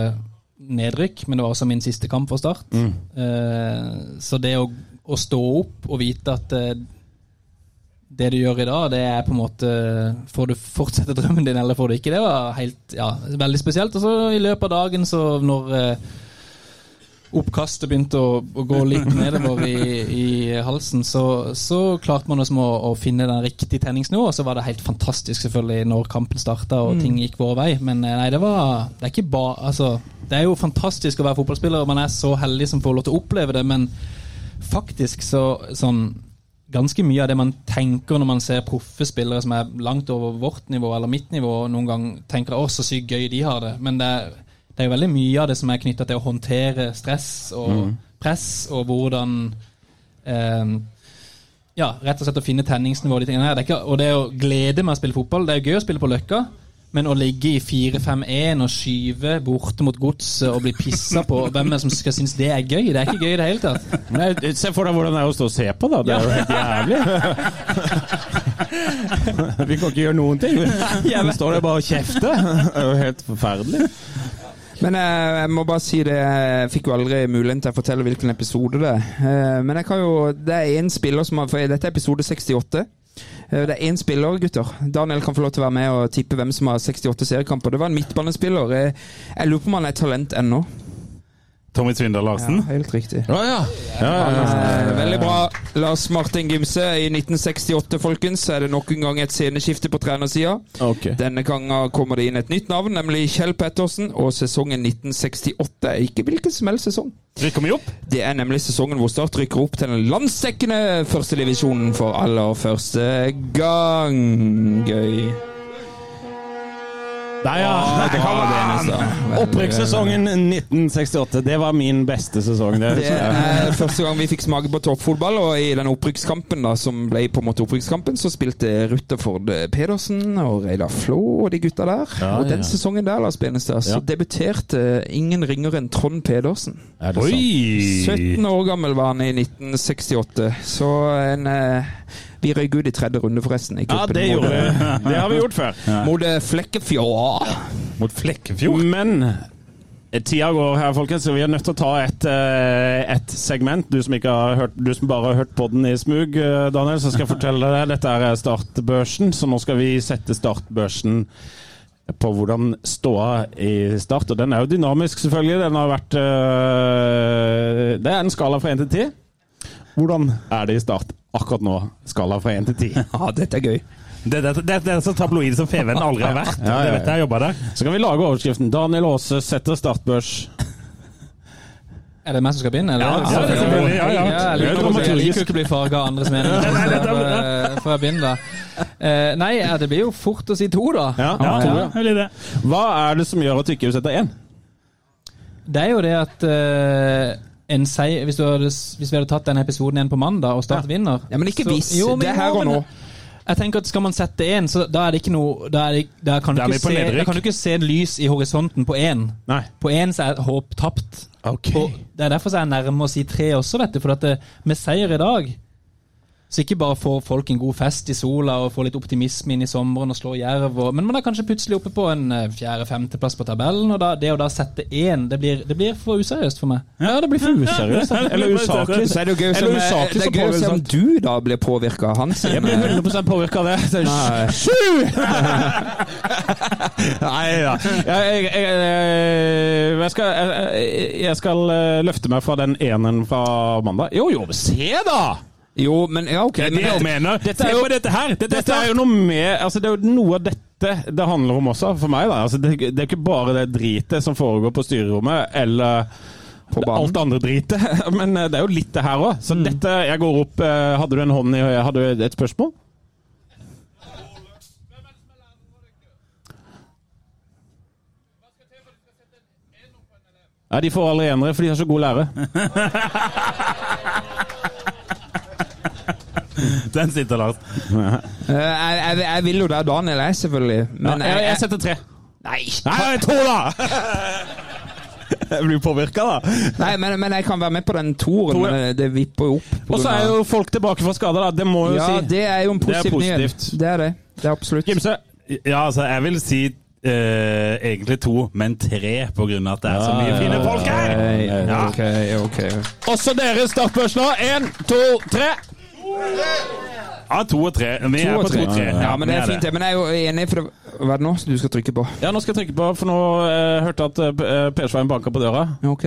G: nedrykk, men det var også min siste kamp for Start. Eh, så det å, å stå opp og vite at eh, det du gjør i dag, det er på en måte Får du fortsette <laughs> drømmen din, eller får du ikke? Det var helt, ja, veldig spesielt. Og så i løpet av dagen, så når eh, oppkastet begynte å, å gå litt nedover i, i halsen, så, så klarte man liksom å, å finne den riktige tenningsnivået. Og så var det helt fantastisk, selvfølgelig, når kampen starta og ting gikk vår vei. Men eh, nei, det var Det er ikke ba... Altså, det er jo fantastisk å være fotballspiller, og man er så heldig som får lov til å oppleve det, men faktisk så sånn ganske mye av det man tenker når man ser proffe spillere som er langt over vårt nivå eller mitt nivå, og noen gang tenker 'å, så sykt gøy de har det', men det er, det er jo veldig mye av det som er knytta til å håndtere stress og press, og hvordan eh, ja, rett og slett å finne tenningsnivået. og de tingene her. Det er ikke, og det å glede meg å spille fotball, det er jo gøy å spille på Løkka, men å ligge i 4-5-1 og skyve borte mot godset og bli pissa på, hvem er det som skal synes det er gøy? Det er ikke gøy i det hele tatt.
D: Nei, se for deg hvordan det er å stå og se på, da. Det er jo helt jævlig. Vi kan ikke gjøre noen <laughs> ting. Vi står der bare og kjefter. Det er jo helt forferdelig.
F: Men eh, jeg må bare si det, jeg fikk jo aldri muligheten til å fortelle hvilken episode det er. Eh, men jeg kan jo, det er én spiller som har For dette er episode 68. Eh, Det er én spiller, gutter. Daniel kan få lov til å være med og tippe hvem som har 68 seriekamper. Det var en midtbanespiller. Eh, Jeg lurer på om han er talent ennå.
E: Tommy Svindal Larsen.
F: Helt riktig.
D: Å ja. Ja, ja,
F: Eh, Veldig bra. Lars Martin Gimse i 1968, folkens. Er det nok en gang et sceneskifte på trenersida?
D: ja. Ok.
F: Denne gangen kommer det inn et nytt navn, nemlig Kjell Pettersen. Og sesongen 1968 er ikke hvilken som helst sesong.
E: Rykker vi opp?
F: Det er nemlig sesongen hvor Start rykker opp til den landsdekkende førstedivisjonen for aller første gang. Gøy.
D: Der, ja. Der kom han. Opprykkssesongen 1968. Det var min beste sesong. Det,
F: Det er første gang vi fikk smake på toppfotball, og i den opprykkskampen da, som ble på en måte opprykkskampen, så spilte Rutherford eh, Pedersen og Reidar Flå og de gutta der.
D: Ja,
F: og
D: ja,
F: den
D: ja.
F: sesongen der, Lars Benestad, så
D: Ja.
F: debuterte eh, ingen ringere enn Trond Pedersen.
D: Er det sant?
E: Oi!
F: 17 år gammel var han i 1968, så en eh, Vi røyk ut i tredje runde, forresten. I
D: Ja,
F: cupen
D: det
F: mot- eh,
D: gjorde vi. Det har vi gjort før.
F: Mot eh, Flekkefjord.
E: Mot Flekkefjord.
D: Men eh, tida går her, folkens, så vi er nødt til å ta et, eh, et segment. Du som, ikke har hørt, du som bare har hørt på den i smug, eh, Daniel, så skal jeg fortelle deg. Dette er eh, startbørsen, så nå skal vi sette startbørsen på hvordan ståa i start. Og den er jo dynamisk, selvfølgelig. Den har vært eh, Det er en skala fra én til ti. Hvordan er det i start akkurat nå? Skala fra én til ti.
F: Ja, dette er gøy.
E: Det, det, det, det er så tabloid som Feven aldri har vært.
D: ja, ja.
E: Det vet jeg, jeg jobba der.
D: Så kan vi lage overskriften 'Daniel Aase setter startbørs'.
G: Er det meg som skal begynne? Eller?
E: Ja, det er selvfølgelig. Ja, ja.
G: jeg
D: Det er
G: liker, jeg
D: dramaturgisk.
G: liker jo ikke å bli farga av andres meninger.
E: <laughs> Nei, nei, det
G: så
E: er
G: jeg
E: bra.
G: får- Får jeg begynne, da? Eh, nei, ja, det blir jo fort å si to, da.
D: Ja,
E: Ja,
D: tror
E: ja,
D: jeg.
E: det blir det.
D: Hva er det som gjør at du ikke setter én?
G: Det er jo det at eh, en seier hvis, du hadde, hvis vi hadde tatt den episoden igjen på mandag, og Start vinner
F: Ja, men ikke
G: så-
F: hvis.
G: Jo, men
F: Det er her
G: jo,
F: og
G: men-
F: nå.
G: Jeg tenker at Skal man sette én, så da er det ikke noe Da, er det, da, kan, du
E: Da er
G: ikke se,
E: vi på nedrykk.
G: da kan du ikke se lys i horisonten på én.
D: Nei.
G: På én så er håp tapt. Og det er derfor så er jeg nærme å si tre også, vet du. For at det, med seier i dag så ikke bare får folk en god fest i sola og får litt optimisme inn i sommeren og slår jerv, og, men man er kanskje plutselig oppe på en eh, fjerde-femteplass på tabellen, og da, det å da sette én, det blir, det blir for useriøst for meg.
D: Ja, det blir for useriøst. da. <laughs> Eller usaklig.
F: Så er det jo gøy å se
D: Eller
F: om-
D: usaklig
F: det
D: så
F: er gøy å se om
D: påvirket.
F: du da blir påvirka av hans.
D: Jeg blir 100 påvirka av det. Så-
F: Nei.
D: <laughs> Nei da. Jeg, jeg, jeg, jeg, skal, jeg, jeg skal eh, løfte meg fra den enen fra mandag. Jo, jo, se da!
F: Jo, men ja, OK.
D: Det er
F: men
D: det jeg
F: dette-
D: mener.
F: Dette er
D: Se
F: jo
D: på dette her! Dette, er jo noe med Altså, det er jo noe av dette det handler om også, for meg. da. Altså, det, det er ikke bare det dritet som foregår på styrerommet, eller
F: På banen. Mm.
D: alt det andre dritet, <laughs> men eh, det er jo litt det her òg. Så dette Jeg går opp eh, Hadde du en hånd i Hadde du et spørsmål? Nei, de får aldri enere, for de har så god lære.
E: Den sitter Lars.
F: Eh, jeg, jeg, jeg vil jo der Daniel er, selvfølgelig. Men eh,
D: jeg,
F: jeg,
D: jeg setter tre. Nei, nei to, da! Jeg blir påvirka, da.
F: nei, men, men jeg kan være med på den toren.
D: Toren.
F: men eh, det vipper jo opp. på
D: Og så
F: grunn
D: er
F: av-
D: jo folk tilbake fra skade, da. Det må jeg jo
F: ja,
D: si.
F: det er jo en
D: Det er
F: positiv nyhet.
D: positivt.
F: Det er det. Det er absolutt.
D: Gimse.
E: Ja, altså, jeg vil si eh, egentlig to, men tre, på grunn av at det er så mye fine folk her!
F: Hey,
E: Ja.
F: Eh, ok, ok.
D: Også dere startbørsla. Én, to, tre.
E: Ja, to og tre. Vi
F: To
E: er
F: og
E: på
F: tre.
E: to og tre.
F: Ja, men det er fint, det. Men jeg er jo enig, for det Hva er det nå du skal trykke på?
D: Ja, nå skal jeg trykke på, for nå eh, hørte jeg at eh, Per Svein banka på døra.
F: Ok.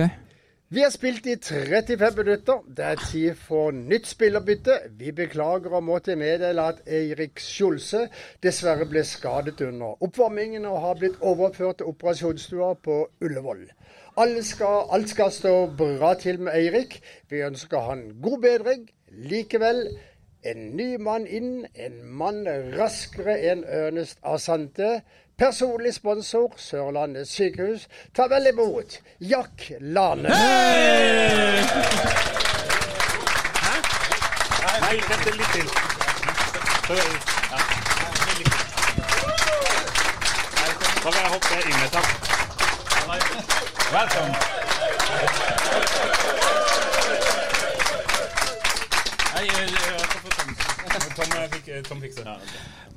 A: Vi har spilt i 35 minutter. Det er tid for nytt spillerbytte. Vi beklager å måtte meddele at Eirik Skjolse dessverre ble skadet under oppvarmingen og har blitt overført til operasjonsstua på Ullevål. Alle skal, alt skal stå bra til med Eirik. Vi ønsker han god bedring. Likevel, en ny mann inn, en mann raskere enn Ernest Asante. Personlig sponsor Sørlandet sykehus. Ta vel imot Jack Lane.
E: eh,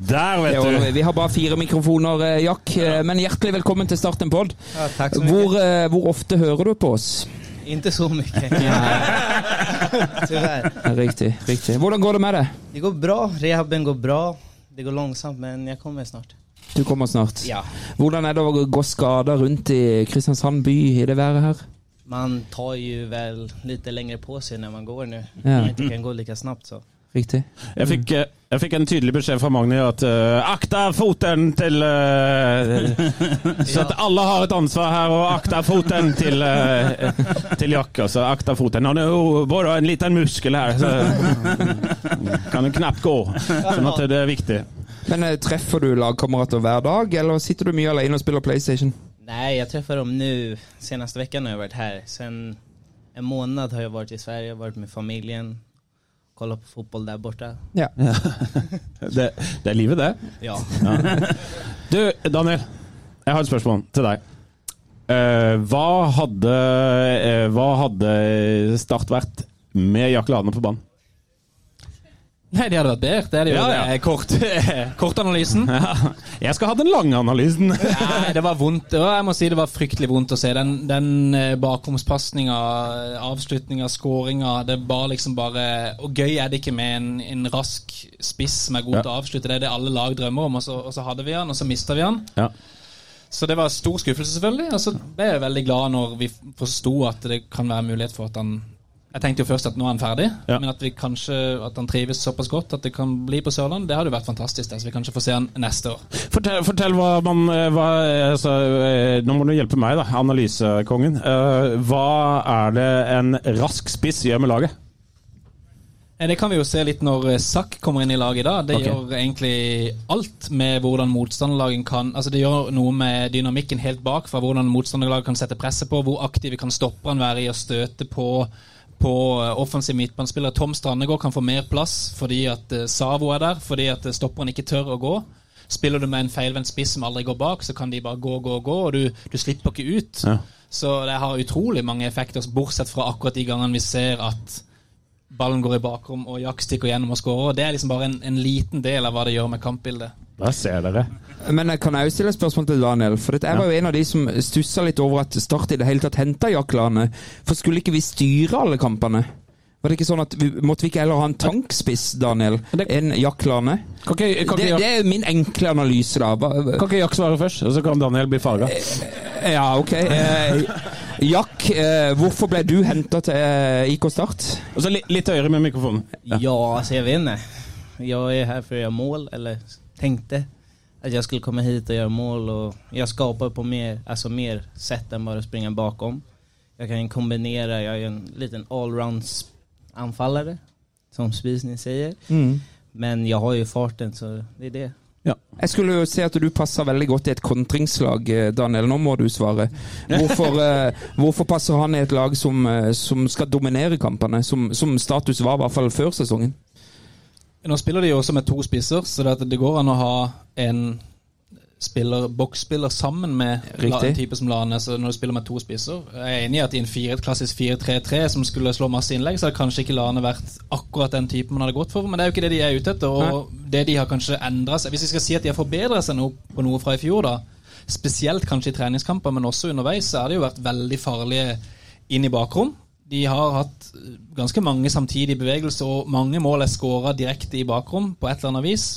E: Der,
F: Det
E: vet
F: ordner vi.
E: du.
F: Vi har bare fire mikrofoner, eh, Jack. eh, Men hjertelig velkommen til Start en pod.
H: Ja, takk så mye.
F: Hvor, eh, hvor ofte hører du på oss?
H: Inte så mycket.
F: <laughs>
H: Tyvärr.
F: Riktig. riktig. Hvordan går det med deg?
H: Det går bra. Rehaben går bra. Det går långsamt, men jeg kommer snart.
F: Du kommer snart.
H: Ja.
F: Hvordan er det å gå skada rundt i Kristiansand by i det været her?
H: Man tar ju väl lite längre på sig när man går nu.
F: Ja.
H: Man inte kan gå lika snabbt så.
F: Riktig.
D: Jeg fikk, eh, jeg fikk en tydelig beskjed fra Magni at eh, akta foten til <laughs> eh, Så at alle har et ansvar her, og akta foten til, eh, til Jack. Altså, akta foten. Han er jo bare en liten muskel her, så kan jo knapt gå. Sånn at det er viktig.
F: Men eh, treffer du lagkamerater hver dag, eller sitter du mye alene og spiller PlayStation?
H: Nej, jag träffar dem nu. Senaste veckan har jag varit här. Sen en månad har jag varit i Sverige, jag har varit med familjen. Kollat på fotboll där borta.
F: Ja.
D: Det, det er livet, det.
H: Ja.
D: Du, Daniel. Jeg har et spørsmål til deg. Eh, hva, hadde, eh, hva hadde Start vært med Jack Lane på banen?
G: Nei, de hadde vært bedre. Det er det jo
D: Ja, ja.
G: eh, kort, <laughs> kortanalysen.
D: Jeg skal ha den lange analysen.
G: Nei, det var vondt. Og jeg må si det var fryktelig vondt å se den, den eh, bakromspasninga, avslutninga, skåringa. Det var liksom bare Og gøy er det ikke med en, en rask spiss som er god
D: Ja.
G: til å avslutte. Det er det alle lag drømmer om, og så, og så hadde vi han, og så mista vi han.
D: Ja.
G: Så det var stor skuffelse, selvfølgelig. Og så ble jeg veldig glad når vi forsto at det kan være mulighet for at han Jeg tenkte jo først at nå er han ferdig,
D: Ja.
G: men at vi kanskje At han trives såpass godt at det kan bli på Sørlandet, det hadde jo vært fantastisk. da, Så vi kanskje får se han neste år.
D: Fortell, fortell hva man eh, hva, eh, altså, eh, Nå må du hjelpe meg, da, analysekongen. Eh, Hva er det en rask spiss gjør med laget?
G: Eh, Det kan vi jo se litt når eh, Zack kommer inn i laget i dag. Det
D: Ok.
G: gjør egentlig alt med hvordan motstanderlagen kan Altså Det gjør noe med dynamikken helt bak, fra hvordan motstanderlaget kan sette presset på, hvor aktive kan stopperne være i å støte på på eh, offensiv midtbanespiller. Tom Strandegård kan få mer plass fordi at eh, Savo er der, fordi at eh, stopperen ikke tør å gå. Spiller du med en feilvendt spiss som aldri går bak, så kan de bare gå, gå, gå, og du, du slipper ikke ut.
D: Ja.
G: Så det har utrolig mange effekter, bortsett fra akkurat de gangene vi ser at ballen går i bakrom, og Jack stikker gjennom og skårer. Det er liksom bare en, en liten del av hva det gjør med kampbildet.
D: Der ser dere.
F: Men jeg kan også stille et spørsmål til Daniel. For dette, jeg var jo en av de som stussa litt over at Start i det hele tatt henta Jack Lane. For skulle ikke vi styre alle kampene? Var det ikke sånn at vi, Måtte vi ikke heller ha en tankspiss, Daniel, enn Jack Lane?
D: Kan ikke,
F: Det, det er min enkle analyse, da. Hva-
G: Eh,
D: Jack svare først, og så kan Daniel bli farga?
F: Ja, ok. Eh, Jack, eh, hvorfor ble du henta til eh, IK Start?
D: Og så li- litt høyere med mikrofonen.
H: Ja, alltså jag vet inte. Jag är här för att göra mål, eller tänkte att jag skulle komma hit och göra mål. Och jag skapar på mer, alltså mer sätt än bara att springa bakom. Jag kan kombinera, jag är en liten allround-anfallare, som Spis ni säger.
F: Mm.
H: Men jag har ju farten, så det är det.
F: Jeg skulle jo se at du passer veldig godt i et kontringslag, eh, Daniel. Nå må du svare. Hvorfor, eh, hvorfor passer han i et lag som, eh, som skal dominere kampene, som, som status var i hvert fall før sesongen?
G: Nå spiller de jo også med to spisser, så det, at det går an å ha en spiller, boksspiller sammen med la,
F: Riktig.
G: en type som Lane. Så når du spiller med to spisser Jeg er enig i at i en fire, et klassisk 4-3-3 som skulle slå masse innlegg, så hadde kanskje ikke Lane vært akkurat den typen man hadde gått for, men det er jo ikke det de er ute etter. Og det de har kanskje endra seg Hvis vi skal si at de har forbedra seg noe, på noe fra i fjor, da, spesielt kanskje i treningskamper, men også underveis, så har det jo vært veldig farlige inn i bakrom. De har hatt eh, ganske mange samtidige bevegelser, og mange mål er skåra direkte i bakrom på et eller annet vis.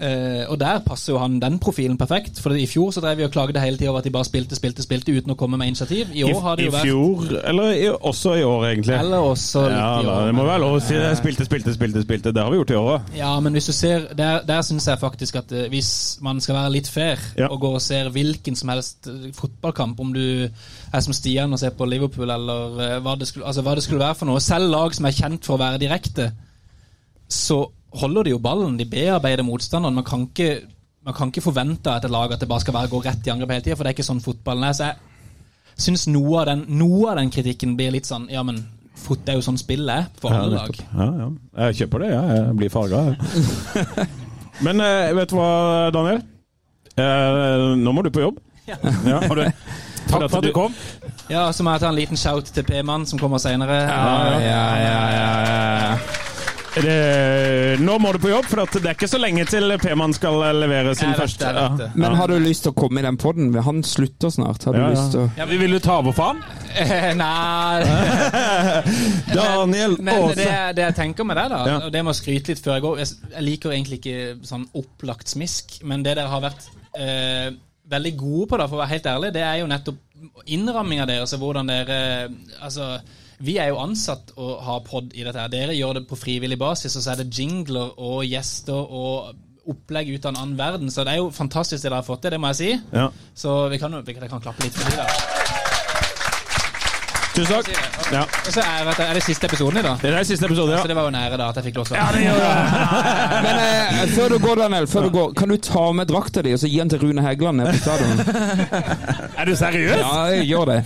G: Eh, og der passer jo han den profilen perfekt. For i fjor så drev vi og klagde hele tida over at de bare spilte, spilte, spilte uten å komme med initiativ. I
D: I,
G: år har det
D: i
G: jo vært
D: fjor, eller i, også i år, egentlig.
G: Eller også litt
D: ja,
G: i
D: da,
G: år,
D: det må
G: men-
D: være lov å si det. Spilte, spilte, spilte. spilte. Det har vi gjort i år òg.
G: Ja, men hvis du ser Der, der syns jeg faktisk at eh, hvis man skal være litt fair
D: Ja.
G: og går og ser hvilken som helst eh, fotballkamp, om du er som Stian og ser på Liverpool eller eh, hva det skulle, altså, hva det skulle være for noe Selv lag som er kjent for å være direkte, så holder de jo ballen. De bearbeider motstanderen. Man kan ikke, man kan ikke forvente at et lag at det bare skal være gå rett i angrep hele tida, for det er ikke sånn fotballen er. Så jeg syns noe, av den- noe av den kritikken blir litt sånn Ja, men fot det er jo sånn spillet er for alle lag.
D: Ja, ja. Jeg kjøper det, ja. jeg blir farga. Men eh, vet du hva, Daniel? Eh, nå må du på jobb. Ja, har du. Takk for at du kom.
G: Ja, så må jeg ta en liten shout til P-mannen som kommer seinere.
D: ja, ja, ja, ja. Det, nå må du på jobb, for at det er ikke så lenge til P-mann skal eh, levere sin
G: Jeg vet
D: første
G: det, jeg vet det.
F: Men har du lyst til å komme i den podden? Han slutter snart. Har du
D: Ja, ja.
F: lyst til å...
E: Ja, vi vil jo ta over for ham.
G: Nei
D: Daniel <laughs>
G: Men det,
D: Aase.
G: det jeg tenker med det, da,
D: Ja.
G: og det må jeg skryte litt før jeg går Jeg s- Jeg liker egentlig ikke sånn opplagt smisk, men det dere har vært eh, veldig gode på, da, for å være helt ærlig, det er jo nettopp innramminga deres og hvordan dere Altså, vi er jo ansatt og har pod i dette her. Dere gjør det på frivillig basis, og så er det jingler og gjester og opplegg ut av en annen verden, så det er jo fantastisk det dere har fått til, det må jeg si.
D: Ja.
G: Så vi kan jo vi kan, jeg kan klappe litt for det. da.
D: Tusen takk. Ja.
G: Og så er, vet du, er det siste episoden i dag.
D: Det er siste episode, ja.
G: Så det var jo nære da at jeg fikk lov til å
F: Men eh, før du går, Daniel, før du går, kan du ta med drakta di og så gi den til Rune Hægeland nede på
E: <laughs>
F: stadion?
E: Er du seriøs?
F: Ja, gjør det.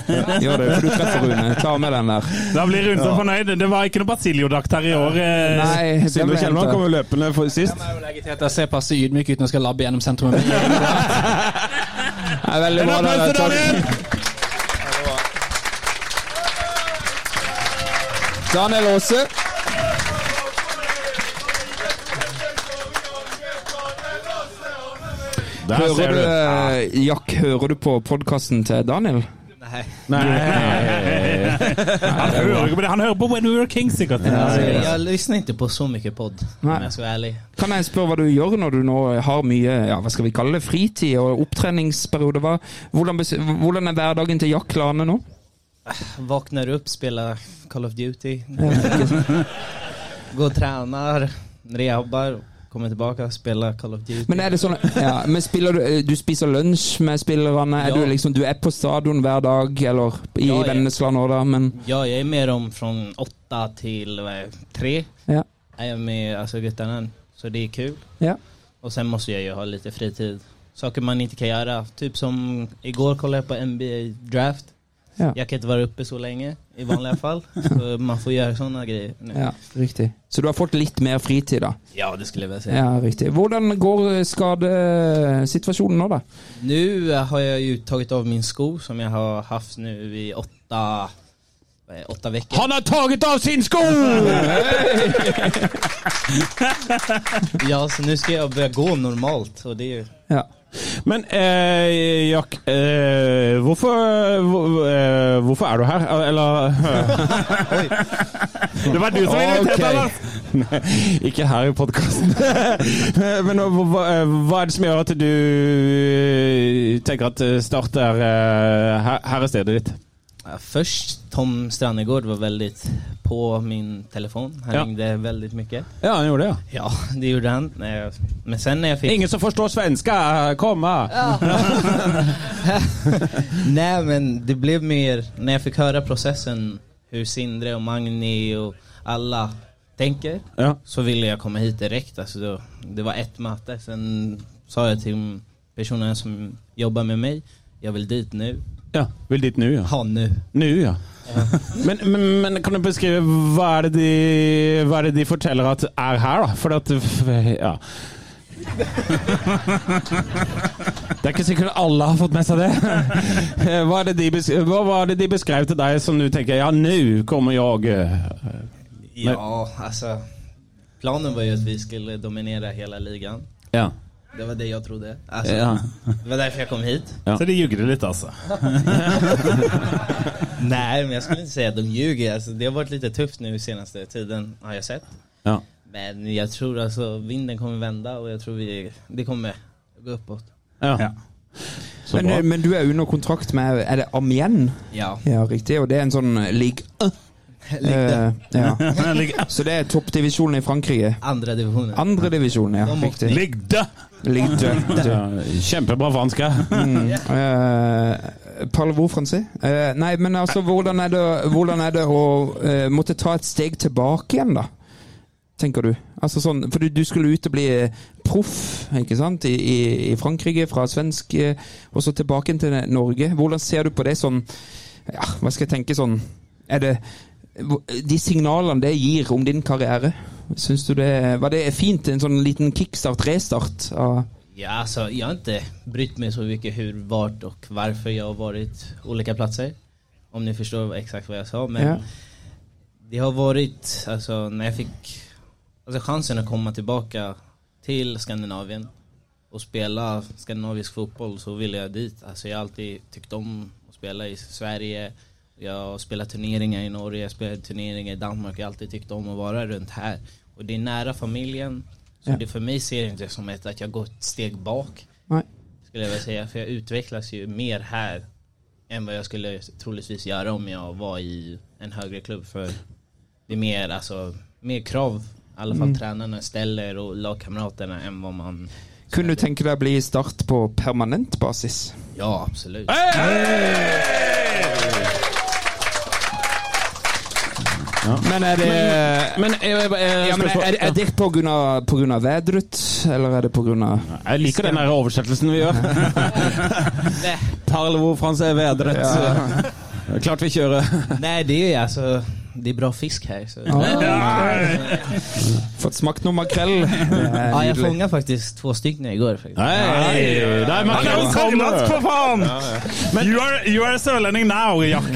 F: Gjør det, for du treffer Rune. Ta med den der.
E: Da blir Rune så fornøyd. Det var ikke noe Basilio-drakt her i år. eh.
F: Nei, den
D: Sindre
F: ble
D: Kjellman
F: hentet.
D: kom jo løpende for sist.
G: Jeg må jo legge til at jeg ser passe ydmyk ut når jeg skal labbe gjennom sentrum. Men
F: Nei, veldig
E: En
F: bra. Daniel.
E: applaus til Daniel!
F: Takk. Daniel Aase.
D: Der
F: Hører
D: ser
F: du,
D: du.
F: eh, Jack, hører du på podkasten til Daniel?
E: Han hører ikke på det. Han hører på When We Were Kings, sikkert.
H: Alltså, jag lyssnar inte på så mycket podd,
F: Nej.
H: om jag ska vara ärlig.
F: Kan jeg spørre hva du gjør når du nå har mye ja, hva skal vi kalle det, fritid og opptreningsperiode? Hva, hvordan, bes- hvordan er hverdagen til Jack Lane nå?
H: Vaknar upp, spelar Call of Duty. Går och tränar, rehabbar, kommer tillbaka, spelar Call of Duty.
F: Men er det sånn, ja, men spiller du, eh, du spiser lunsj med spillerne? Er
H: Ja.
F: du, liksom, du er på stadion hver dag, eller i
H: Ja, ja.
F: Vennesla nå, da? Men
H: Ja, jag är med dem från åtta till eh, tre.
F: ja.
H: Jag är med alltså guttarna, så det är kul.
F: ja.
H: Och sen måste jag ju ha lite fritid. Saker man inte kan göra. Typ som igår kollade jag på NBA Draft.
F: Ja.
H: Jag kan inte vara uppe så länge i
F: <laughs>
H: vanliga fall. Så man får göra sådana grejer nu.
F: Ja, riktig. Så du har fått litt mer fritid, da?
H: Ja, det skulle jag vilja säga.
F: Ja, riktig. Hvordan går eh, skadesituasjonen nå, da?
H: Nu har jag ju tagit av min sko som jag har haft nu i åtta, vad är det, åtta veckor.
E: Han har taget av sin sko!
H: Ja, så nu ska jag börja gå normalt. Och det är ju...
F: Ja.
D: Men eh, Jack, eh, hvorfor, hvor- eh, hvorfor er du her? Eller
E: <laughs> Det var du som inviterte
F: Ok.
E: okay. Lars!
D: <laughs> Ikke her i podkasten. <laughs> Men hva, hva, eh, hva er det som gjør at du eh, tenker at Start er eh, her, her er stedet ditt?
H: Ja, Först Tom Strannegård var väldigt på min telefon. Han
D: Ja.
H: ringde väldigt mycket.
D: Ja, han gjorde det, ja.
H: Ja, det gjorde han. När jag- Men sen när jag fick...
D: Ingen som forstår svenska, kom her!
H: Nej, men det blev mer när jag fick höra processen hur Sindre och Magni och alla tänker
D: Ja.
H: så ville jag komma hit direkt. Alltså då, det var ett möte. Sen sa jag till personen som jobbar med mig, jag vill dit nu.
D: ja. Vil dit nå, ja.
H: Ha nu.
D: Nå, ja. <laughs> Men, men, men kan du beskrive hva er, det de, hva er det de forteller at er her, da? For at Ja. Det er ikke sikkert alle har fått med seg det. Hva, er det <laughs> de bes- hva var det de beskrev til deg som du tenker Ja, nå kommer jeg eh,
H: Ja, alltså. Planen var ju att vi skulle dominera hela ligan.
D: Ja.
H: Det var det jag trodde. Alltså,
D: ja.
H: Det var därför jag kom hit.
D: Ja.
E: Så de jugde litt, altså.
H: Nej, men jag skulle inte säga att de ljuger. Alltså, det har varit lite tufft nu senaste tiden, har jag sett.
D: ja.
H: Men jag tror alltså vinden kommer vända och jag tror vi, det kommer gå uppåt.
D: ja.
E: Ja.
D: Så
F: Men,
D: bra.
F: eh, men du er under kontrakt med Er det Amien?
H: Ja.
F: Ja, riktig. Og det er en sånn league Eh, ja.
E: Ligg-
F: Så det er toppdivisjonen i Frankrike.
H: Andra divisionen.
F: Andredivisjonen, ja.
H: De må-
F: Riktig.
E: Ligg død!
F: Ligue deux.
D: Ja, Kjempebra fransk. ja.
F: Eh, Parlez-vous français? Eh, nei, men altså, hvordan er det, hvordan er det å eh, måtte ta et steg tilbake igjen, da? Tenker du? Altså sånn, For du, du skulle ut og bli eh, proff ikke sant? I, i, i Frankrike, fra svensk, eh, og så tilbake til Norge. Hvordan ser du på det sånn ja, Hva skal jeg tenke sånn Er det hvor- de signalene det gir om din karriere, syns du det Var det fint? En sånn liten kickstart, restart? av
H: Ja, alltså, jag har inte brytt mig så mycket hur, vart och varför jag har varit olika platser. Om ni förstår vad- exakt vad jag sa. Men
F: Ja.
H: det har varit, alltså när jag fick alltså, chansen att komma tillbaka till Skandinavien och spela skandinavisk fotboll så ville jag dit. Alltså jag har alltid tyckt om att spela i Sverige. Jag har spelat turneringar i Norge, jag har spelat turneringar i Danmark. Jag har alltid tyckt om att vara runt här. Och det är nära familjen. Så
F: Ja.
H: det för mig ser jag inte som ett, att jag går ett steg bak
F: Nei.
H: skulle jag vilja säga. För jag utvecklas ju mer här än vad jag skulle troligtvis göra om jag var i en högre klubb. För det är mer, alltså, mer krav, i alla fall tränarna ställer och lagkamraterna än vad man...
F: Kunne du tenke deg å bli Start på permanent basis?
H: Ja, absolut.
F: Men er det,
D: Men eh, jeg, jeg, jeg,
F: ja, men er, er, er det på grunn av, på grunn av Vedrut, eller er det på grunn av
D: jeg liker den der oversettelsen vi <laughs> gjør. Parlevo France er vedret. Klart vi kjører.
H: Nej, det är alltså... Det är bra fisk här. Så.
F: Fått smakt noe makrell?
H: Ja, jag fångade faktiskt två stycken igår. Faktiskt.
D: Hei,
E: Han er
D: der
E: jo
D: makrellen
E: sørlandsk,
D: kommer!
E: for faen! You are, you are sørlending now, Jack.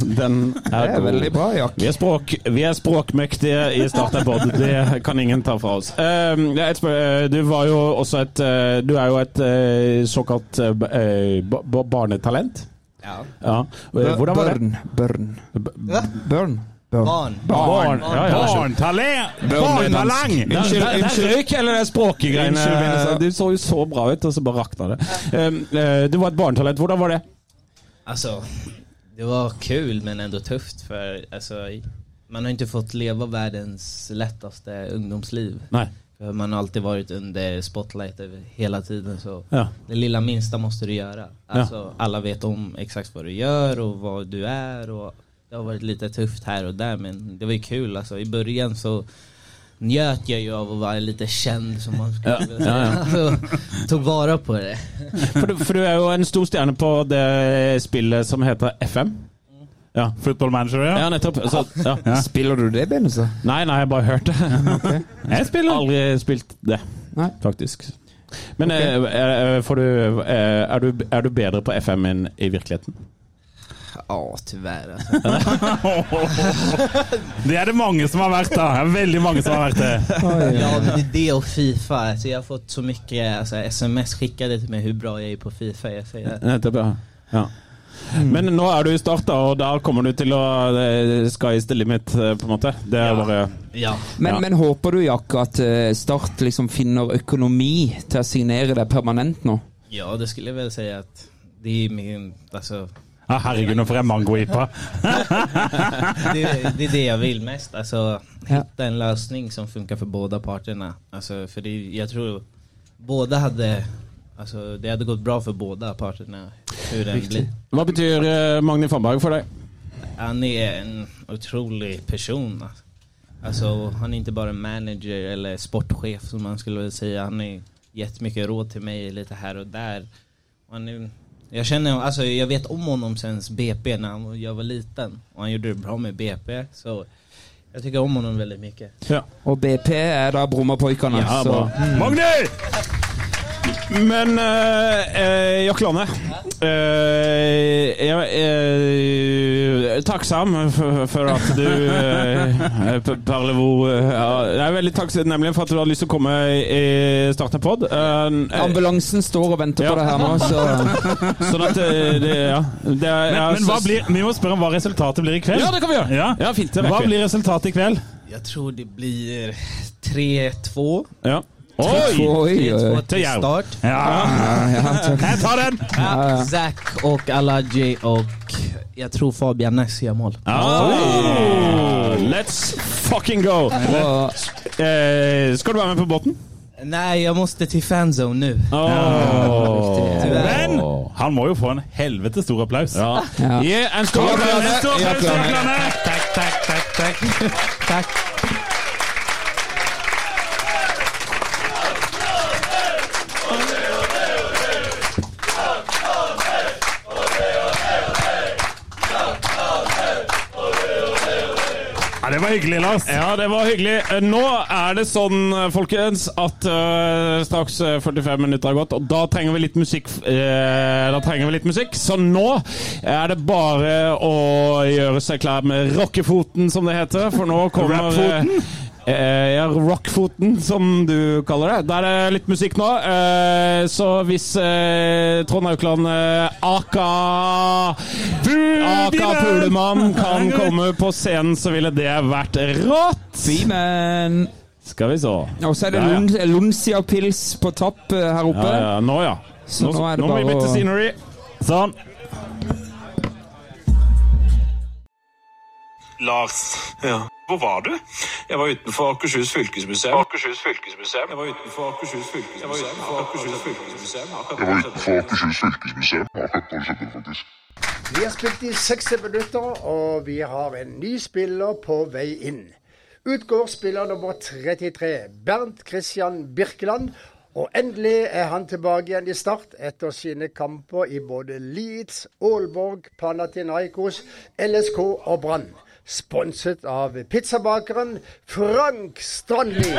D: Den
F: Det
D: er
F: er
D: god.
F: veldig bra, Jack.
D: Vi er, språk, vi er språkmektige i Starterpod. Det kan ingen ta fra oss. Eh, det er et spør eh, du var jo også et eh, Du er jo et eh, såkalt eh, b- eh, ba- ba- barnetalent.
H: Ja.
D: Ja. Eh, Hvordan var det?
F: Børn. Børn. Børn. Børn.
H: Barn.
D: Barn. Ja, ja.
E: Barntalent!
F: Barn er dansk.
E: Barntalang!
D: Der, der, der røyk hele det
F: Unnskyld,
D: språkegreiene.
F: Vanessa.
D: Du så jo så bra ut, og så bare rakna det. Eh, eh, du var et barnetalent. Hvordan var det?
H: Alltså, det var kul men ändå tufft för alltså, man har inte fått leva världens lättaste ungdomsliv.
D: Nei.
H: För man har alltid varit under spotlight över- hela tiden så
D: Ja.
H: det lilla minsta måste du göra. Alltså, Alla vet om exakt vad du gör och vad du är och det har varit lite tufft här och där men det var ju kul alltså. I början så njöt jag ju av att vara lite känd som man skulle vilja säga. Alltså, tog vara på det.
D: For du, for du er jo en stor stjerne på det spillet som heter FM. Ja,
E: Football manager, ja.
D: ja nettopp. Så, ja.
F: Spiller du det, Benestad?
D: Nei, nei, jeg bare hørte det.
E: Jeg spiller.
D: Aldri spilt det,
F: Nei.
D: faktisk. Men eh, eh, får du, eh, er, du, er du bedre på FM enn i virkeligheten?
H: Ja, tyvärr alltså.
E: <laughs> Det er det mange som har vært, da. Det er veldig mange som har vært det.
H: Ja, men det är det och Fifa. Alltså, jag har fått så mycket alltså, sms skickade till mig hur bra jag är på Fifa. Jag säger,
D: Nettopp, ja. ja. Mm. Men nå er du i start, da, og der kommer du til å eh, Sky is the limit, eh, på en måte. Det er bare
H: Ja.
F: Men,
D: Ja.
F: men håper du, Jack, at eh, Start liksom finner økonomi til å signere deg permanent nå?
H: ja, det skulle jeg vel si at de min, altså,
E: Ja, herregud, nå får jeg mango-ipa.
H: <laughs> det, det är det jag vill mest. Alltså,
F: Ja.
H: hitta en lösning som funkar för båda parterna. Alltså, för det, jag tror båda hade, alltså, det hade gått bra för båda parterna. Hur den blir.
D: Hva betyr eh, Magni Fannberg for deg?
H: Han är en otrolig person. alltså. Alltså, han är inte bara en manager eller sportchef som man skulle vilja säga. Han har gett mycket råd till mig lite här och där. Och Han är, jag känner, alltså jag vet om honom sen BP när han, jag var liten. Och han gjorde det bra med BP. Så jag tycker om honom väldigt mycket.
D: Ja.
F: Og BP er da Brommapoikene.
D: Ja,
F: så
D: bra.
E: Magni!
D: Men eh, eh, Jack Lane eh, jeg, eh, Takksam for, for at du eh, p- Parle hvor eh, ja, Jeg er veldig takknemlig for at du hadde lyst til å komme i starten av pod. Eh, eh,
F: Ambulansen står og venter
D: Ja.
F: på deg her nå,
D: <laughs>
F: så
D: sånn at eh, det, Ja. Det er,
E: Men,
D: ja,
E: men hva
D: så-
E: blir, vi må spørre om hva resultatet blir i kveld.
D: Ja, det kan vi gjøre!
E: Ja.
D: Ja, fint, det
E: Hva
D: rekker vi.
E: blir resultatet i kveld?
H: Jag tror det blir 3-2.
D: ja. Oj!
F: Oi, oi, oi.
H: 3-2
E: till
H: till
E: Järv.
H: start.
E: Ja,
F: Ja, takk.
E: jeg tar den!
F: ja.
H: Zack och Alaji och jag tror Fabian Ness gör mål.
D: Ah, let's fucking go!
F: Og-
D: Eh, skal du være med på båten?
H: Nej, jag måste till fanzone nu.
D: Åh.
E: Men han må jo få en helvete stor applaus.
D: Ja.
F: Ja.
D: Yeah, en stor applaus!
E: En stor applaus til
F: Jack
E: Lane.
H: Tack, tack, tack, tack. tack.
E: Ja, det var hyggelig, Lars.
D: Ja, det var hyggelig. Eh, Nå er det sånn, eh, folkens, at eh, straks eh, 45 minutter har gått, og da trenger vi litt musikk. eh, da trenger vi litt musikk. Så nå er det bare å gjøre seg klar med rockefoten, som det heter. For nå kommer eh, eh, ja, rockfoten, som du kaller det. Der er litt musikk nå. eh, så hvis eh, Trond Aukland eh, aka Aka <laughs> Pulemann kan komme på scenen, så ville det vært rått!
F: Beeman.
D: Skal vi se.
F: Og så er det
D: Der, ja.
F: Lund, Luncia-pils på tapp eh, her
D: Ja,
F: oppe.
D: ja, nå, ja.
F: Så nå er det
D: nå må
F: bare
D: vi bytte
F: å-
D: scenery.
E: Sånn. Lars, hvor var du?
I: Jeg var utenfor Akershus fylkesmuseum. Akershus fylkesmuseum. Jeg var utenfor Akershus fylkesmuseum. Jeg var utenfor Akershus fylkesmuseum.
J: Jeg var utenfor Akershus fylkesmuseum. Akkurat nå skjedde det faktisk.
A: Vi har spilt i 60 minutter, og vi har en ny spiller på vei inn. Ut går spiller nummer 33, Bernt Christian Birkeland. Og endelig er han tilbake igjen i Start etter sine kamper i både Leeds, Aalborg, Panathinaikos, LSK og Brann. Sponset av pizzabakeren Frank Strandli.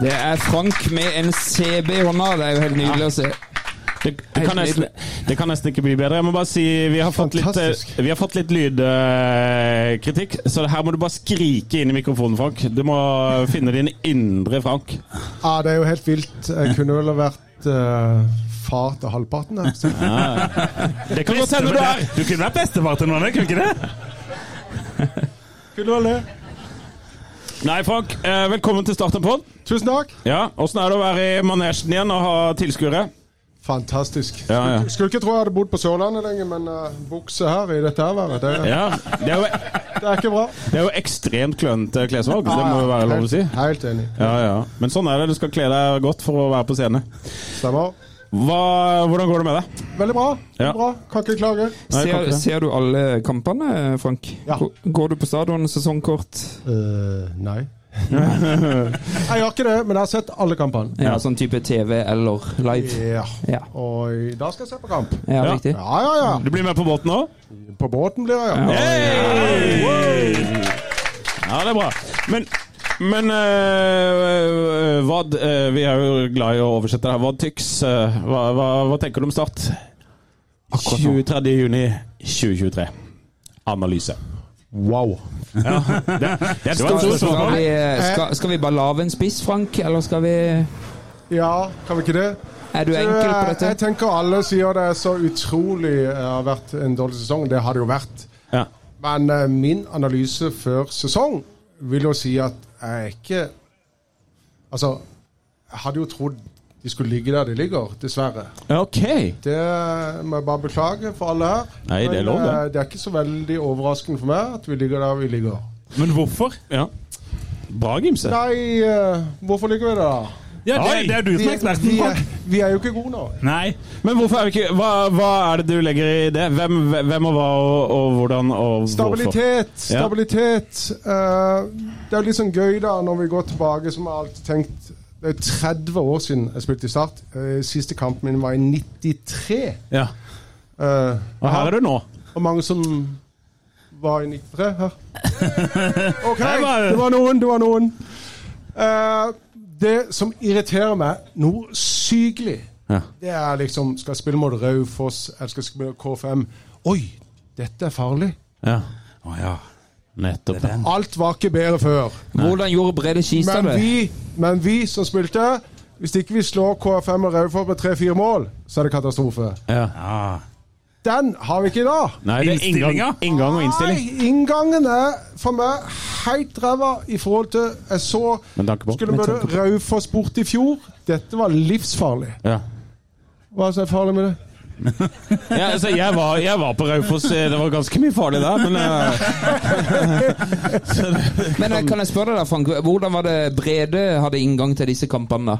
F: Det er Frank med en CB i hånda. Det er jo helt nydelig å se.
D: Det, det, kan nesten, det kan nesten ikke bli bedre. Jeg må bare si Vi har fått litt, eh,
K: Fantastisk.
D: vi har fått litt lydkritikk, så her må du bare skrike inn i mikrofonen, Frank. Du må finne din indre Frank.
K: Ja, det er jo helt vilt. Jeg kunne vel ha vært eh, far til halvparten. her, så-
D: Det kan godt hende du er
E: Du kunne vært bestefar til noen, kunne ikke det? kunne du ha det?
D: Nei, Frank. eh, Velkommen til starten på den.
K: Tusen takk!
D: Ja, Åssen er det å være i manesjen igjen og ha tilskuere?
K: Fantastisk.
D: Ja, ja.
K: Skulle ikke tro jeg hadde bodd på Sørlandet lenge, men uh, bukse her i dette her været, det,
D: Ja, det er jo,
K: det er ikke bra.
D: det er jo ekstremt klønete klesvalg. Det må jo være lov å si.
K: Helt, helt enig.
D: Ja, ja. Men sånn er det. Du skal kle deg godt for å være på scene.
K: Stemmer.
D: Hva, hvordan går det med deg?
K: Veldig bra.
D: Ja.
K: bra. Kan ikke klage.
D: Nei, jeg kan
F: Ser,
D: ikke det.
F: ser du alle kampene, Frank?
K: Ja.
F: Går- Går du på stadion sesongkort?
K: Eh,
F: <laughs>
K: nei. jeg gjør ikke det, men jeg har sett alle kampene.
F: Ja, sånn type TV eller live?
K: Ja.
F: Ja,
K: Og i dag skal jeg se på kamp.
F: ja
D: Ja.
F: riktig.
K: Ja, ja, ja.
D: Du blir med på båten òg?
K: På båten blir jeg, ja.
D: Ja, det er bra. Men, men eh, hva, eh, Vi er jo glad i å oversette det her. Hva tyks? eh, hva, hva, hva tenker du om start? 23. juni 2023. Analyse.
K: Wow.
D: Ja, det, det er et
F: Skal
D: stort spørsmål.
F: vi, eh,
K: Eh.
F: skal, skal vi bare lage en spiss, Frank, eller skal vi
K: Ja, kan vi ikke det? Eh,
F: Er du enkel på dette?
K: Jeg tenker alle sier det er så utrolig eh, har vært en dårlig sesong. Det har det jo vært.
D: Ja.
K: Men eh, min analyse før sesong vil jo si at eh, jeg er ikke Altså, jeg hadde jo trodd de skulle ligge der de ligger, dessverre.
D: Ok.
K: Det må jeg bare beklage for alle her.
D: Nei, det er lov, det.
K: eh, det er ikke så veldig overraskende for meg at vi ligger der vi ligger.
E: Men hvorfor?
D: Ja. Bra, Gimse.
K: Nei, eh, hvorfor ligger vi der, da?
E: Ja, det,
D: Oi!
E: det er du som er eksperten
K: vi,
E: på.
K: er, vi er jo ikke gode nå.
E: Nei.
D: Men hvorfor er vi ikke hva, hva er det du legger i det? Hvem, hvem og hva og, og hvordan og hvorfor?
K: Stabilitet,
D: Ja.
K: stabilitet. Eh, det er jo litt sånn gøy da når vi går tilbake, som jeg har alltid tenkt Det er 30 år siden jeg spilte i Start. Eh, siste kampen min var i 93.
D: Ja.
K: Eh,
D: Og her er du nå.
K: Hvor mange som var i 93
E: <laughs>
K: her? OK,
E: Nei, bare-
K: det var noen, det var noen. Eh, det som irriterer meg noe sykelig,
D: Ja.
K: det er liksom Skal jeg spille mot Raufoss, eller skal jeg spille K5? Oi, dette er farlig.
D: ja.
E: Å ja.
D: Nettopp.
E: Det er den.
K: Alt var ikke bedre før.
F: Hvordan gjorde Brede Skistad
K: Men
F: det?
K: vi, men vi som spilte Hvis ikke vi slår KFM og Raufoss med tre-fire mål, så er det katastrofe.
D: Ja.
E: Ah.
K: Den har vi ikke i dag.
D: Nei, det er inngang,
E: Innstillinga?
D: inngang og innstilling.
K: Nei, inngangen er for meg helt ræva i forhold til Jeg så
D: Med tanke på-
K: skulle
D: med
K: møte
D: tanke på-
K: Raufoss bort i fjor. Dette var livsfarlig.
D: Ja.
K: Hva er det som er farlig med det?
D: Ja, altså, jeg, var, jeg var på Raufoss, eh, det var ganske mye farlig der, men eh,
F: Men eh, kan jeg spørre deg, da, Frank, hvordan var det Brede hadde inngang til disse kampene? da?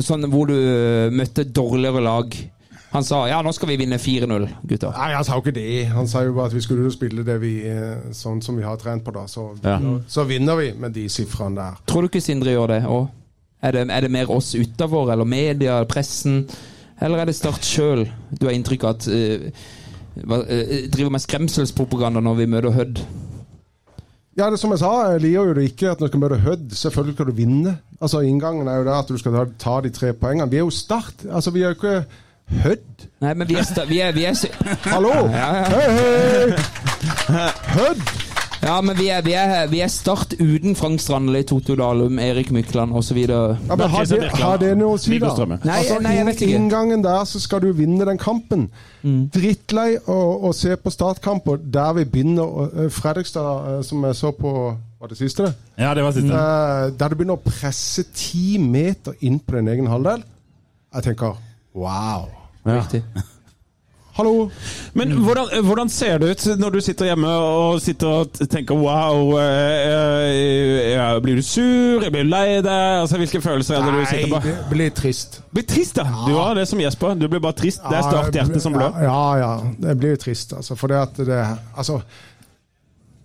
F: Sånn hvor du eh, møtte dårligere lag. Han sa ja, nå skal vi vinne 4-0, gutter.
K: Nei, han sa jo ikke det. Han sa jo bare at vi skulle spille det vi, eh, sånn som vi har trent på, da. Så,
D: Ja.
K: så vinner vi med de sifrene der.
F: Tror du ikke Sindre gjør det òg? Er, det- er det mer oss utafor, eller media, pressen? Eller er det Start sjøl du har inntrykk av at eh, hva- eh, driver med skremselspropaganda når vi møter Hødd?
K: Ja, det er som jeg sa, jeg liker jo det ikke at når du skal møte Hødd, selvfølgelig skal du vinne. Altså, Inngangen er jo der at du skal ta, ta de tre poengene. Vi er jo Start. Altså, vi er jo ikke Hødd.
F: Nei, men vi er, sta- vi er, vi er s-
K: Hallo! Hei, hei! Hødd!
F: Ja, men vi er, vi er, vi er Start uten Frank Strandli, Toto Dalum, Erik Mykland osv.
K: Ja, men har, det, har det noe å si, da?
D: Viggo Strømme.
F: Nei,
K: altså,
F: nei, jeg vet ikke.
K: Inngangen der, så skal du vinne den kampen. Drittlei å, å se på startkamper der vi begynner å- eh, Fredrikstad, eh, som jeg så på Var det siste, det?
E: Ja, det var siste.
K: Eh, der du begynner å presse ti meter inn på din egen halvdel. Jeg tenker wow.
F: Riktig.
K: Hallo!
D: Men hvordan, eh, hvordan ser det ut når du sitter hjemme og sitter og t- tenker wow eh, eh, eh, Blir du sur? Jeg blir lei deg? Altså, Hvilke følelser er det du sitter på?
K: det blir trist.
D: Blir trist, da! Du var det som Jesper. Du blir bare trist. Det er starthjertet som blør.
K: Ja, ja. ja. Det blir jo trist, altså. For det at det Altså.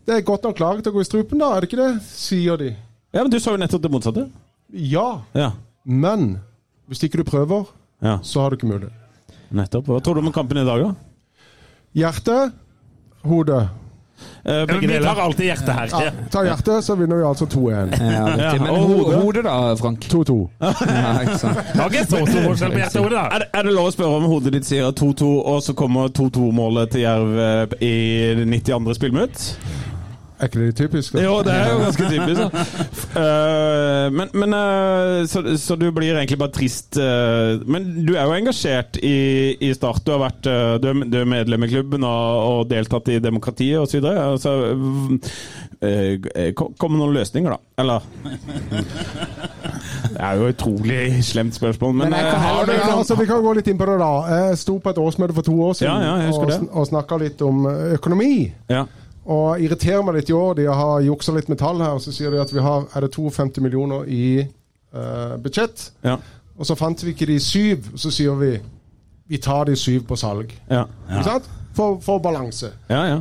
K: Det er godt nok laget å gå i strupen, da, er det ikke det? Sier de.
D: Ja, men Du sa jo nettopp det motsatte.
K: Ja,
D: Ja,
K: men hvis ikke du prøver,
D: ja
K: så har du ikke mulighet.
D: nettopp. Hva tror du om kampen i dag, da?
K: Hjerte, hode.
D: Eh,
E: Ja, men
D: Begge
E: Vi tar
D: deler.
E: alltid hjertet her.
K: Ja, ta hjertet, så vinner vi altså 2-1.
F: Ja,
D: Ja,
F: riktig. Men
D: og
F: ho
D: hodet?
F: hodet, da, Frank?
K: 2-2.
F: Ja, ikke sant?
E: Det var ikke
K: <laughs>
E: så stor forskjell på hjertet og hodet, da.
D: Er det, er det lov å spørre om hodet ditt sier 2-2, og så kommer 2-2-målet til Jerv eh, i 92. spillminutt?
K: Er ikke det typisk? da?
D: Jo, det er jo ganske typisk. Da.
F: <laughs>
D: F- eh, men men eh, så, så du blir egentlig bare trist. eh, men du er jo engasjert i, i Start. Du, har vært, eh, du, er, du er medlem i klubben og, og deltatt i demokratiet osv. Altså, eh, eh, kom kom med noen løsninger, da.
F: <laughs>
D: Eller Det er jo et utrolig slemt spørsmål, men,
F: Men jeg
D: eh,
F: kan heller-
D: har du
K: Ja, altså, vi kan gå litt inn på det, da. Jeg sto på et årsmøte for to år siden
D: Ja, ja, jeg husker
K: og,
D: det.
K: sn- og snakka litt om eh, økonomi.
D: ja.
K: Og irriterer meg litt i år. De har juksa litt med tall her, og så sier de at vi har er det 52 millioner i eh, budsjett.
D: Ja,
K: Og så fant vi ikke de syv, så sier vi vi tar de syv på salg.
D: ja,
K: Ikke sant? For, for balanse.
D: ja, ja.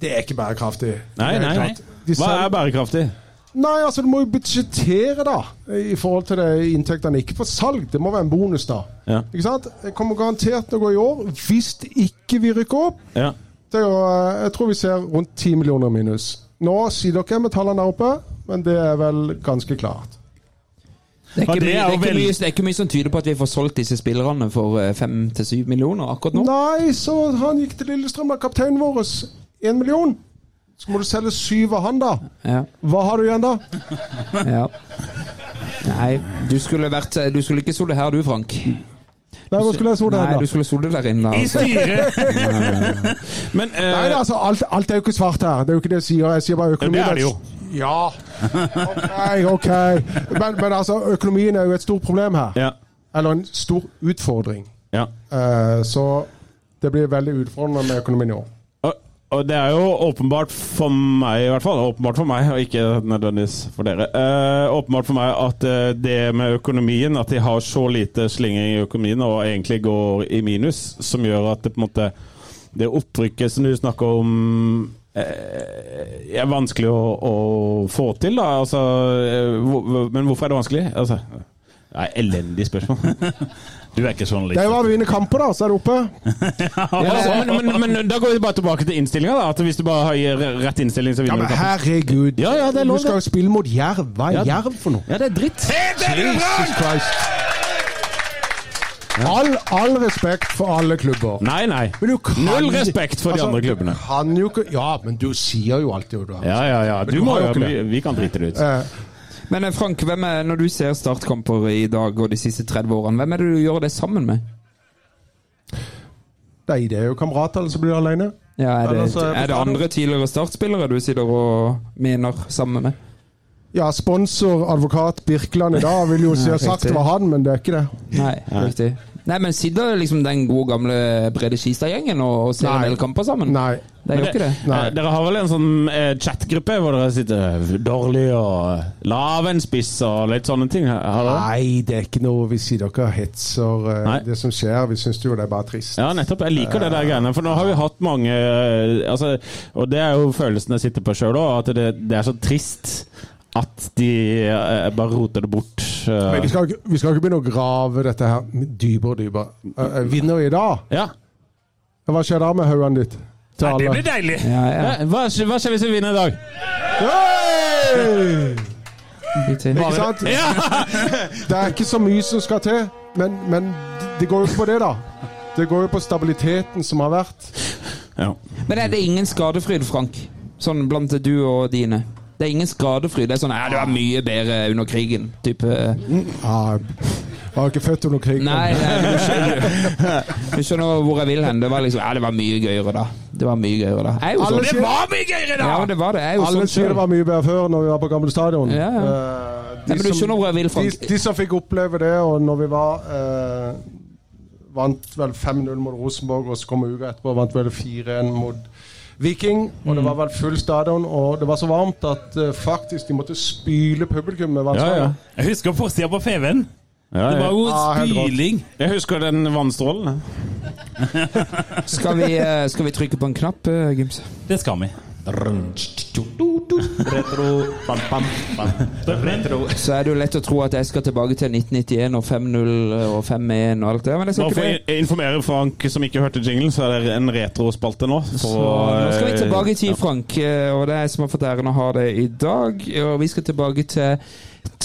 K: Det er ikke bærekraftig.
D: Nei,
K: Det er
D: nei.
K: klart. De
D: Hva
K: selger-
D: er bærekraftig?
K: Nei, altså du må jo budsjettere da i forhold til det inntektene. Ikke for salg, det må være en bonus da.
D: Ja.
K: Ikke sant? Det kommer garantert til å gå i år hvis det ikke vi rykker opp.
D: Ja.
K: Det er jo, eh, jeg tror vi ser rundt 10 millioner minus. Nå sier dere med tallene der oppe, men det er vel ganske klart.
F: Det er
E: Ja,
F: ikke,
E: det
F: mye, det,
E: er
F: er
E: jo
F: ikke
E: veldig-
F: mye, det er ikke mye som tyder på at vi får solgt disse spillerne for eh, fem til syv millioner akkurat nå.
K: Nei, så han gikk til Lillestrøm, da, kapteinen vår, 1 million. Så må du selge syv av han, da.
F: Ja.
K: Hva har du igjen, da?
F: ja. Nei, du skulle, vært, eh, du skulle ikke sittet her du, Frank.
K: Nei, hvor skulle jeg sittet her,
F: Nei,
K: da?
F: du skulle sittet der inne. da.
K: <laughs>
D: Men eh,
K: Nei, altså, alt, alt er jo ikke svart her. Det er jo ikke det jeg sier. Jeg sier bare økonomi.
D: Det er det jo.
K: Ja. Ok, ok. Men, men altså, økonomien er jo et stort problem her.
D: Ja.
K: Eller en stor utfordring.
D: ja.
K: Eh, så det blir veldig utfordrende med økonomien i år.
D: Og, og det er jo åpenbart for meg, i hvert fall, åpenbart for meg, og ikke nødvendigvis for dere, eh, åpenbart for meg at eh, det med økonomien, at de har så lite slingring i økonomien og egentlig går i minus, som gjør at det på en måte det opprykket som du snakker om eh, er vanskelig å, å få til, da. Altså, eh, hvor- hvor- men hvorfor er det vanskelig? Altså, det er elendig spørsmål.
E: <laughs> Du er ikke sånn
K: Det
E: journalist.
K: er jo hva vi vinner kamper, da, så er det
E: <laughs>
K: oppe.
E: altså,
D: Ja, men, men, men da går vi bare tilbake til innstillinga, da. At hvis du bare gir rett innstilling, så
K: Ja,
D: vinner
K: men
D: du kampen.
K: herregud.
D: Ja, ja, det er
K: Du
D: lov,
K: skal
D: det.
K: jo spille mot Jerv. Hva er
D: Ja.
K: Jerv for noe?
D: Ja, det er dritt.
K: Jesus Christ. All, all respekt for alle klubber.
D: Nei, nei.
K: Men du kan, Altså,
D: Null respekt for de andre
K: du
D: klubbene.
K: Kan jo ikke, ja, men du sier jo alltid hva du har.
D: Ja, ja, ja. Du
K: du
D: må
K: har jo
D: jo
K: ikke
D: vi, vi kan drite det ut.
K: Eh,
F: Men eh, Frank, hvem er, når du ser startkamper i dag og de siste 30 årene, hvem er det du gjør det sammen med?
K: Nei, det er jo kamerater, eller så blir du alene.
F: Ja, er, det,
K: Eller så er det
F: er det andre tidligere startspillere du sitter og mener sammen med?
K: Ja, sponsor, advokat Birkeland i dag vil jo si
F: <laughs> Ja,
K: har sagt det
F: riktig.
K: var han, men det er ikke det.
F: Nei, riktig. Nei, men sitter liksom den gode gamle Brede Skistad-gjengen og, og ser
K: Nei.
F: en del kamper sammen?
K: Nei.
F: Det er jo ikke det.
K: Nei.
D: Eh, Dere har vel en sånn eh, chatgruppe hvor dere sitter eh, dårlig og lav en spiss og litt sånne ting? Har dere?
K: Nei, det er ikke noe vi sier dere hetser eh,
D: Nei.
K: det som skjer. Vi syns jo det er bare trist.
D: Ja, nettopp. Jeg liker
K: Eh.
D: det der greiene. For nå har vi hatt mange eh, altså, Og det er jo følelsen jeg sitter på sjøl òg, at det, det er så trist at de eh, bare roter det bort. eh.
K: Men vi skal, ikke- vi skal ikke begynne å grave dette her dypere og dypere. Eh, eh, vinner vi i dag?
D: Ja.
K: Ja, Hva skjer da med haugene ditt? Til
E: Nei, det
K: alle.
E: blir deilig!
F: Ja, ja.
D: Eh, Hva, skj- hva skjer hvis vi vinner i dag?
K: Hey!
F: riktig.
K: Ikke sant? <laughs> Det er ikke så mye som skal til, men, men det går jo ikke på det, da. Det går jo på stabiliteten som har vært.
D: Ja.
F: Men er det ingen skadefryd, Frank? Sånn blant du og dine. Det er ingen skadefryd. Det er sånn Ja, du er mye bedre under krigen. Type Nei,
K: Ja, jeg var ikke født under krigen.
F: nei men du
K: <laughs>
F: skjønner Du skjønner hvor jeg vil hen. Det var liksom Ja, det var mye gøyere da. Det var mye gøyere da. Jeg er jo
K: Alle
F: sånn.
K: sier-
E: Hva mye gøyere, da?!
F: Ja, men det var det. Jeg er jo
K: Alle
F: sånn
K: sier det
F: selv.
K: var mye bedre før, når vi var på gamle stadion.
F: Ja, ja.
K: Eh, de
F: Nei, men du
K: som-
F: skjønner hvor jeg vil,
K: de,
F: Frank.
K: de som fikk oppleve det, og når vi var eh, Vant vel 5-0 mot Rosenborg, og så kom uka etterpå og vant vel 4-1 mot Viking. Og det var vel full stadion, og det var så varmt at eh, faktisk de måtte spyle publikum med
D: Ja, ja.
K: vannstråler.
E: Jeg husker forsida på FV-en.
D: Ja,
E: Det var
D: jeg,
E: jo
K: Ja, helt rått.
E: spyling.
D: jeg husker den vannstrålen. jeg.
F: Skal vi, eh, skal vi trykke på en knapp, eh, Gimse?
E: Det skal vi.
F: Så er det jo lett å tro at jeg skal tilbake til 1991 og 5-0 og 5-1 og alt det. Men jeg
D: Nå
F: skal
D: får
F: ikke det.
D: jeg jeg informere Frank, som ikke hørte jinglen, så er det en retrospalte nå.
F: Så
D: eh,
F: nå skal vi tilbake i tid, Frank. eh, Og det er jeg som har fått æren å ha det i dag. Og vi skal tilbake til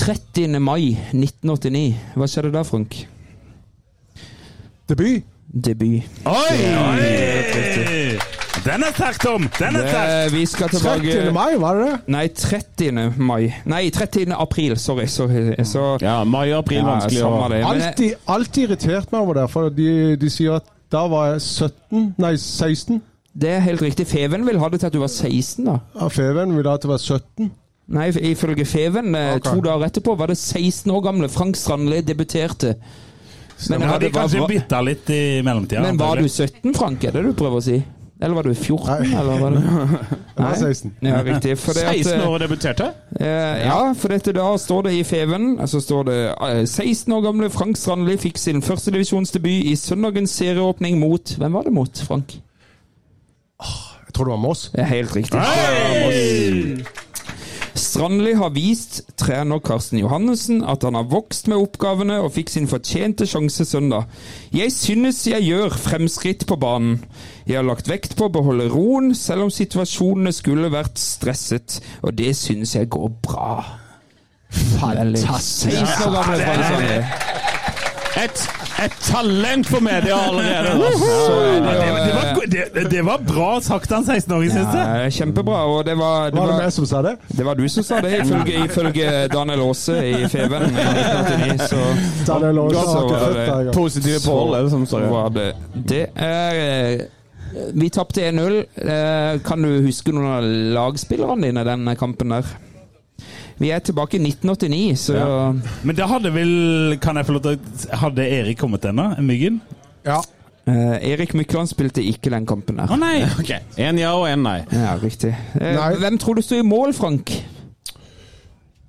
F: 30. mai 1989. Hva skjedde da, Frank?
K: Debut.
F: Debut.
E: Oi! Oi! Den er sterk, Tom! Den er sterk!
F: Eh, vi skal
K: 30.
F: tilbake
K: mai, var det det?
F: Nei, 30. mai. Nei, 30. april. Sorry. sorry. Så
D: Ja, mai og april,
F: ja,
D: vanskelig å
F: samme det. Men eh, jeg,
K: Alltid, alltid irritert meg over det, for de, de sier at da var jeg 17, nei 16.
F: det er helt riktig. Feven vil ha det til at du var 16, da.
K: Ja, Feven ville at jeg var 17.
F: Nei, ifølge Feven, eh,
K: Ok.
F: to dager etterpå, var det 16 år gamle Frank Strandli debuterte. Men,
E: Men
F: var,
E: hadde
F: det, var,
E: kanskje
F: var,
E: bytta litt i mellomtida.
F: men var du
E: antagelig.
F: 17, Frank? Er det du prøver å si? Eller var du 14?
K: Nei.
F: Eller var du...
K: <laughs> Jeg var
F: Nei.
K: 16.
F: Ja, riktig. For det
D: 16
F: at,
D: år og debuterte?
F: eh, ja, for dette da står det i Feven Så står det eh, 16 år gamle Frank Strandli fikk sin førstedivisjonsdebut i søndagens serieåpning mot Hvem var det mot, Frank?
K: Jeg tror det var Moss.
F: Det er helt riktig. Strandli har vist trener Karsten Johannessen at han har vokst med oppgavene og fikk sin fortjente sjanse søndag. Jeg synes jeg gjør fremskritt på banen. Jeg har lagt vekt på å beholde roen, selv om situasjonene skulle vært stresset, og det synes jeg går bra. Fantastisk!
D: Et Et talent for media allerede!
E: Så er det jo,
D: Ja, det- det var-
E: det, det var bra sagt av en 16-åring, syns jeg.
F: Ja, kjempebra. Og det var
E: Var det
K: jeg som sa det?
F: Det var du som sa det, ifølge, ifølge Daniel Aase i
K: <laughs>
F: Feven. i 1989, Så,
K: Daniel Aase har
F: Så
K: ikke
F: var
K: født
F: det-
K: deg engang.
D: Eh, Positive Pål, er det som sa det.
F: Så var det det. Er, vi tapte 1-0. Eh, Kan du huske noen av lagspillerne dine den kampen der? Vi er tilbake i 1989, så
E: Ja. Men da hadde vel Kan jeg få lov til å Hadde Erik kommet ennå? Myggen?
K: Ja.
F: Eh, Erik Mykland spilte ikke den kampen der.
E: Å nei!
D: <laughs> En ja og en nei.
F: Ja, riktig. Eh, Hvem tror du sto i mål, Frank?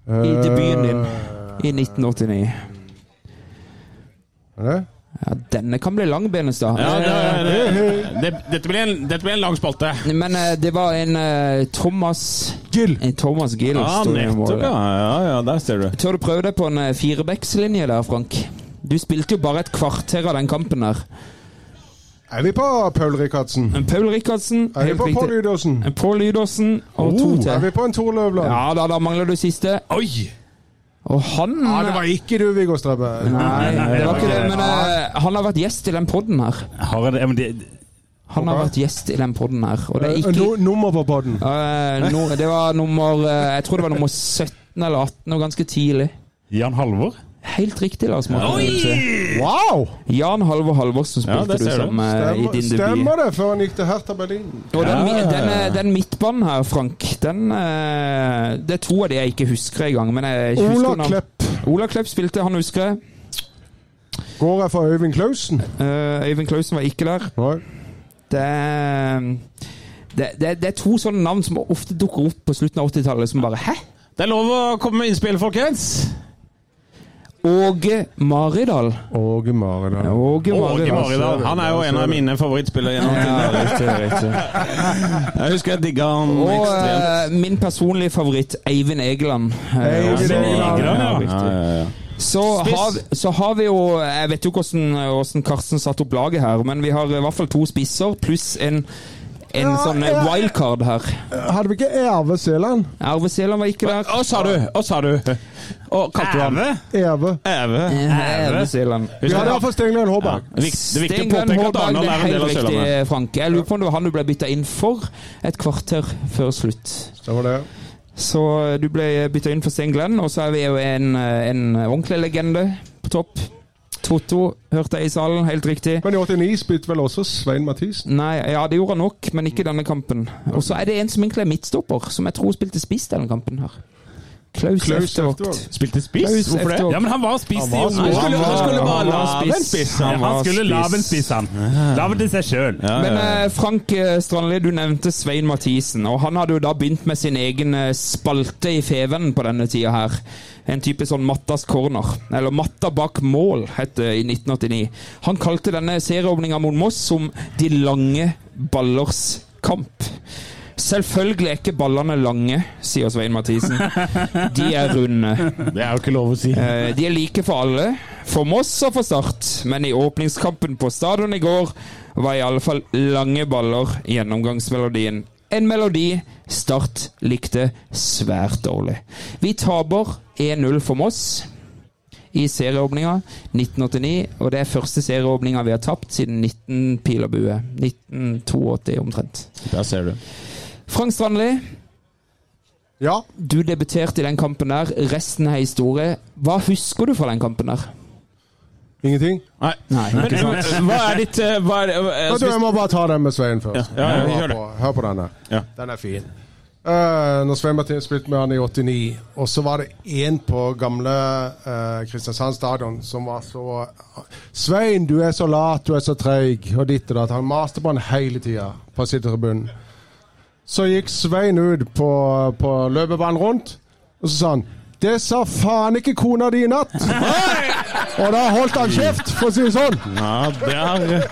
F: I
E: Eh,
F: debuten din i 1989. Ja, denne kan bli lang, Benestad.
D: Ja, det, Eh, det, det, dette, blir en, dette blir en lang spalte.
F: Men eh, det var en eh, Thomas Gill. En Thomas Gill
D: Ja,
F: sto i
D: nettopp,
F: målet.
D: ja. ja. Ja, der ser du.
F: Tør du prøve deg på en eh, firebackslinje der, Frank? Du spilte jo bare et kvarter av den kampen der.
K: Er vi på Paul Rikardsen?
F: Paul Rikardsen.
K: Er vi
F: helt
K: på
F: riktig.
K: Pål Lydåsen?
F: En Pål Lydåsen og to
K: Oh,
F: til.
K: er vi på en Tor Løvland?
F: Ja, da, da mangler du siste.
E: Oi!
F: Og han
K: Ja, det var ikke du, Viggo Strøbbe.
F: Nei, det var ikke det, men eh, han har vært gjest i den podden her.
E: Har jeg det? Ja, men det
F: Han har vært gjest i den podden her, og det er ikke
K: Eh, no, Nummer på podden.
F: Eh, no, det var nummer eh, Jeg tror det var nummer 17 eller 18, og ganske tidlig.
E: Jan Halvor?
F: Helt riktig, Lars Morten. Nilsen.
K: Wow!
F: Jan Halvor Halvorsen
E: Ja,
F: spilte
E: det
F: du
E: ser du.
F: som eh, i din debut.
K: Stemmer det, før han gikk til Hertha Berlin.
F: Og den, mi- den, eh, den midtbanen her, Frank, den eh, Det er to av de jeg ikke husker engang. men jeg husker
K: Ola
F: navn.
K: Klepp.
F: Ola Klepp spilte, han husker jeg.
K: Går jeg for Øyvind Klausen?
F: Eh, Øyvind Klausen var ikke der.
K: Nei.
F: Det er, det, det, det er to sånne navn som ofte dukker opp på slutten av 80-tallet, som bare Hæ?
D: Det er lov å komme med innspill, folkens.
F: Åge Maridal.
K: Åge Maridal.
F: Åge
D: Åge Maridal.
F: Maridal.
D: Han er jo en av mine favorittspillere gjennom tiden. Jeg husker jeg digga han
F: Og
D: ekstremt.
F: eh, min personlige favoritt, Eivind Egeland. Eh,
K: Eivind
F: også-
K: Egeland,
F: ja,
E: ja.
F: riktig. Så
D: Spiss.
F: har, vi- så har vi jo Jeg vet jo hvordan, hvordan Karsten satte opp laget her, men vi har i hvert fall to spisser pluss en, en
K: Ja,
F: sånn
K: ja.
F: wildcard her.
K: Hadde vi ikke Erve Seland?
F: Arve Seland var ikke der.
D: Hva sa du? Hva sa du? Og kalte du han
E: Æve?
K: Erve.
D: Æve?
F: Arve Seland.
K: Vi hadde iallfall Stenglen Håberg.
D: Det er viktig- det er viktig å påpeke at
F: Hårdag,
D: Arendal
F: det
D: er
F: er
D: en del
F: helt
D: av
F: riktig,
D: Sørlandet.
F: Frank. Jeg lurer på om det var han du ble bytta inn for et kvarter før slutt.
K: Det var det.
F: Så eh, du ble bytta inn for Sten Glenn, og så er vi jo en, eh, en ordentlig legende på topp. Totto hørte jeg i salen, helt riktig.
K: Men i 89 spilte vel også Svein Mathisen.
F: Nei, ja, det gjorde han nok, men ikke i denne kampen. Og så er det en som egentlig er midtstopper, som jeg tror spilte spiss denne kampen her. Klaus,
K: Klaus
F: Eftervogt.
K: Eftervogt.
E: Spilte spiss?
F: Klaus
E: Hvorfor det?
F: Eftervåg.
E: Ja, men han var spiss i
K: var
E: ungdom.
K: spiss.
E: Han
K: Han
E: skulle
K: var-
F: han
E: bare
F: var
E: lave en
F: spiss.
E: spiss.
F: Han var
E: Han skulle lave en
F: spiss.
E: spiss, han. Lave til seg sjøl.
F: Men eh, Frank eh, Strandli, du nevnte Svein Mathisen, og han hadde jo da begynt med sin egen eh, spalte i Feven på denne tida her. En type sånn Mattas corner, eller Matta bak mål, het det i 1989. Han kalte denne serieåpninga mot Moss som De lange ballers kamp. Selvfølgelig er ikke ballene lange, sier Svein Mathisen. De er runde.
E: Det er jo ikke lov å si.
F: Eh, De er like for alle, for Moss og for Start, men i åpningskampen på stadion i går var iallfall lange baller gjennomgangsmelodien. En melodi Start likte svært dårlig. Vi taper 1-0 for Moss i serieåpninga 1989, og det er første serieåpninga vi har tapt siden 19 pil og bue. 1982 omtrent.
D: Der ser du.
F: Frank Strandli,
K: Ja.
F: du debuterte i den kampen der. Resten er historie. Hva husker du fra den kampen der?
K: Ingenting?
D: Nei.
F: Nei,
D: Men,
F: ikke sant?
D: eh, hva er ditt eh, hva er, eh,
K: Vet du,
D: spist-
K: jeg må bare ta den med Svein først.
D: Ja, ja, ja,
K: hør,
D: gjør det.
K: på, hør på denne.
D: Ja.
K: Den er fin. Uh, når Svein Martin spilte med han i 89, og så var det én på gamle eh, Kristiansand stadion som var så 'Svein, du er så lat, du er så treig', og ditt og datt. Han maste på han hele tida på sittetribunen. Så gikk Svein ut på, på løpebanen rundt, og så sa han 'Det sa faen ikke kona di i natt'. og da holdt han kjeft, for å si det sånn.
D: Ja, der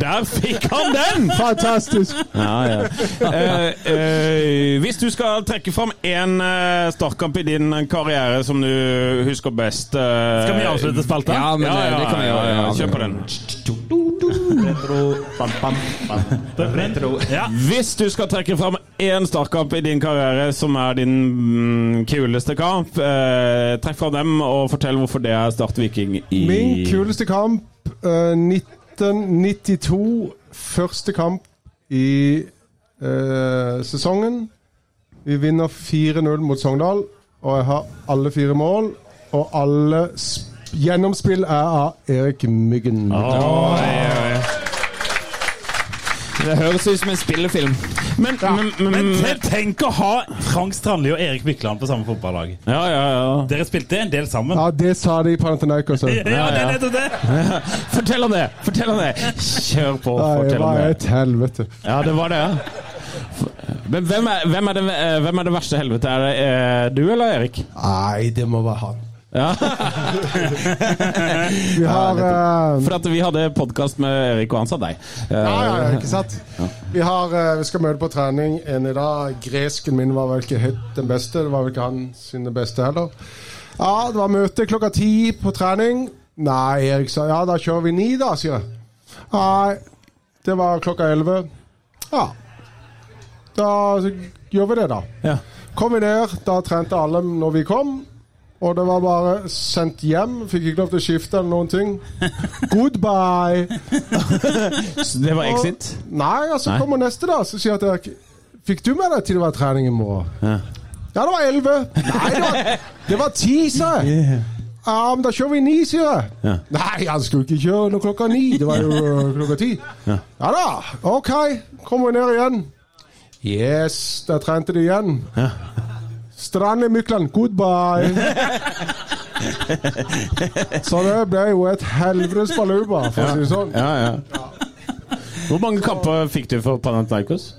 D: Der fikk han den!
K: Fantastisk.
D: Ja, ja. Eh, eh, hvis du skal trekke fram én eh, startkamp i din karriere som du husker best eh,
E: Skal vi avslutte spalta?
F: Ja, men, eh, det kan vi gjøre, ja.
D: Kjør på den. Retro. Hvis du skal trekke fram én startkamp i din karriere som er din mm, kuleste kamp, eh, trekk fram dem og fortell hvorfor det er Start Viking i
K: Min kuleste kamp eh, 1992. Første kamp i eh, sesongen. Vi vinner 4-0 mot Sogndal, og jeg har alle fire mål. Og alle sp gjennomspill er av Erik Myggen.
D: Ah.
F: Det høres ut som en spillefilm.
D: Men, men, men,
E: Men te- tenk å ha Frank Strandli og Erik Mykland på samme fotballag.
D: Ja, ja, ja.
E: Dere spilte en del sammen.
K: Ja, det sa de i Panathenaikos.
E: Ja, det er nettopp det!
D: Fortell om det! Fortell om det! Kjør på,
K: Det
D: fortell om
K: var
D: det.
K: et helvete.
D: Ja, det var det. ja. Men hvem er, hvem er, det, eh, hvem er det verste helvete? Er det eh, du eller Erik?
K: Nei, det må være han. <laughs>
D: Ja,
K: Vi har eh,
D: For at vi hadde podkast med Erik, og han sa deg.
K: Ja, ja, ja, ikke sant? Vi, har, eh, vi skal møte på trening en i dag. Gresken min var vel ikke helt den beste. Det var vel ikke han sine beste heller. Ja, det var møte klokka ti på trening. Nei, Erik sa ja, da kjører vi ni, da, sier jeg. Nei, det var klokka elleve. Ja. Da gjør vi det, da.
D: Ja.
K: Kom vi ned, da trente alle når vi kom. Og det var bare sendt hjem. Fikk ikke lov til å skifte eller noen ting. Goodbye!
D: Så Det var exit.
K: Nei, og så
D: Nei.
K: kommer neste da Så sier jeg til Erik Fikk du med deg til det var trening i morgen? Ja, det var 11 Nei, det var, det var 10, sa jeg Ja, men da kjører vi 9, sier jeg
D: Ja.
K: Nei, han skulle ikke kjøre noe klokka 9 Det var jo øh, klokka 10 Ja, da, ok Kommer vi ned igjen Yes, der trente de igjen
D: Ja.
K: Strandli Mykland, goodbye Så det ble jo et helvetes baluba For å si det sånn
D: Ja, ja. Hvor mange kamper fikk du for Panathinaikos?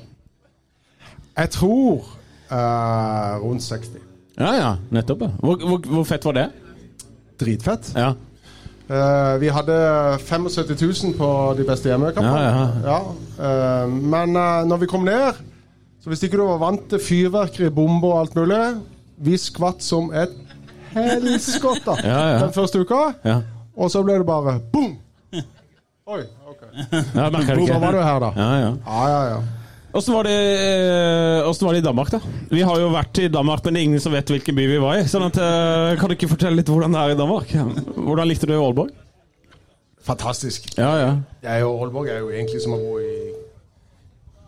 K: Jeg tror eh, rundt 60.
D: Ja, ja, nettopp. ja. Hvor, hvor, hvor fett var det?
K: Dritfett.
D: Ja,
K: Eh, vi hadde 75 000 på de beste hjemmekampene. Ja, eh, men eh, når vi kom ned Så hvis ikke du var vant til fyrverkeri, bomber og alt mulig Vi skvatt som et helskott da,
D: Ja, ja.
K: den første uka.
D: ja.
K: Og så ble det bare boom! Oi, OK.
D: ja merker du
K: Da var du
D: ikke.
K: her, da.
D: Ja, ja.
K: Ja, ja, ja.
D: Åssen var, det, eh, hvordan var det i Danmark, da? Vi har jo vært i Danmark, men det er ingen som vet hvilken by vi var i. Sånn at, eh, Kan du ikke fortelle litt hvordan det er i Danmark? Hvordan likte du Aalborg?
K: Fantastisk.
D: Ja, ja.
K: Det er jo, Aalborg er jo egentlig som å bo i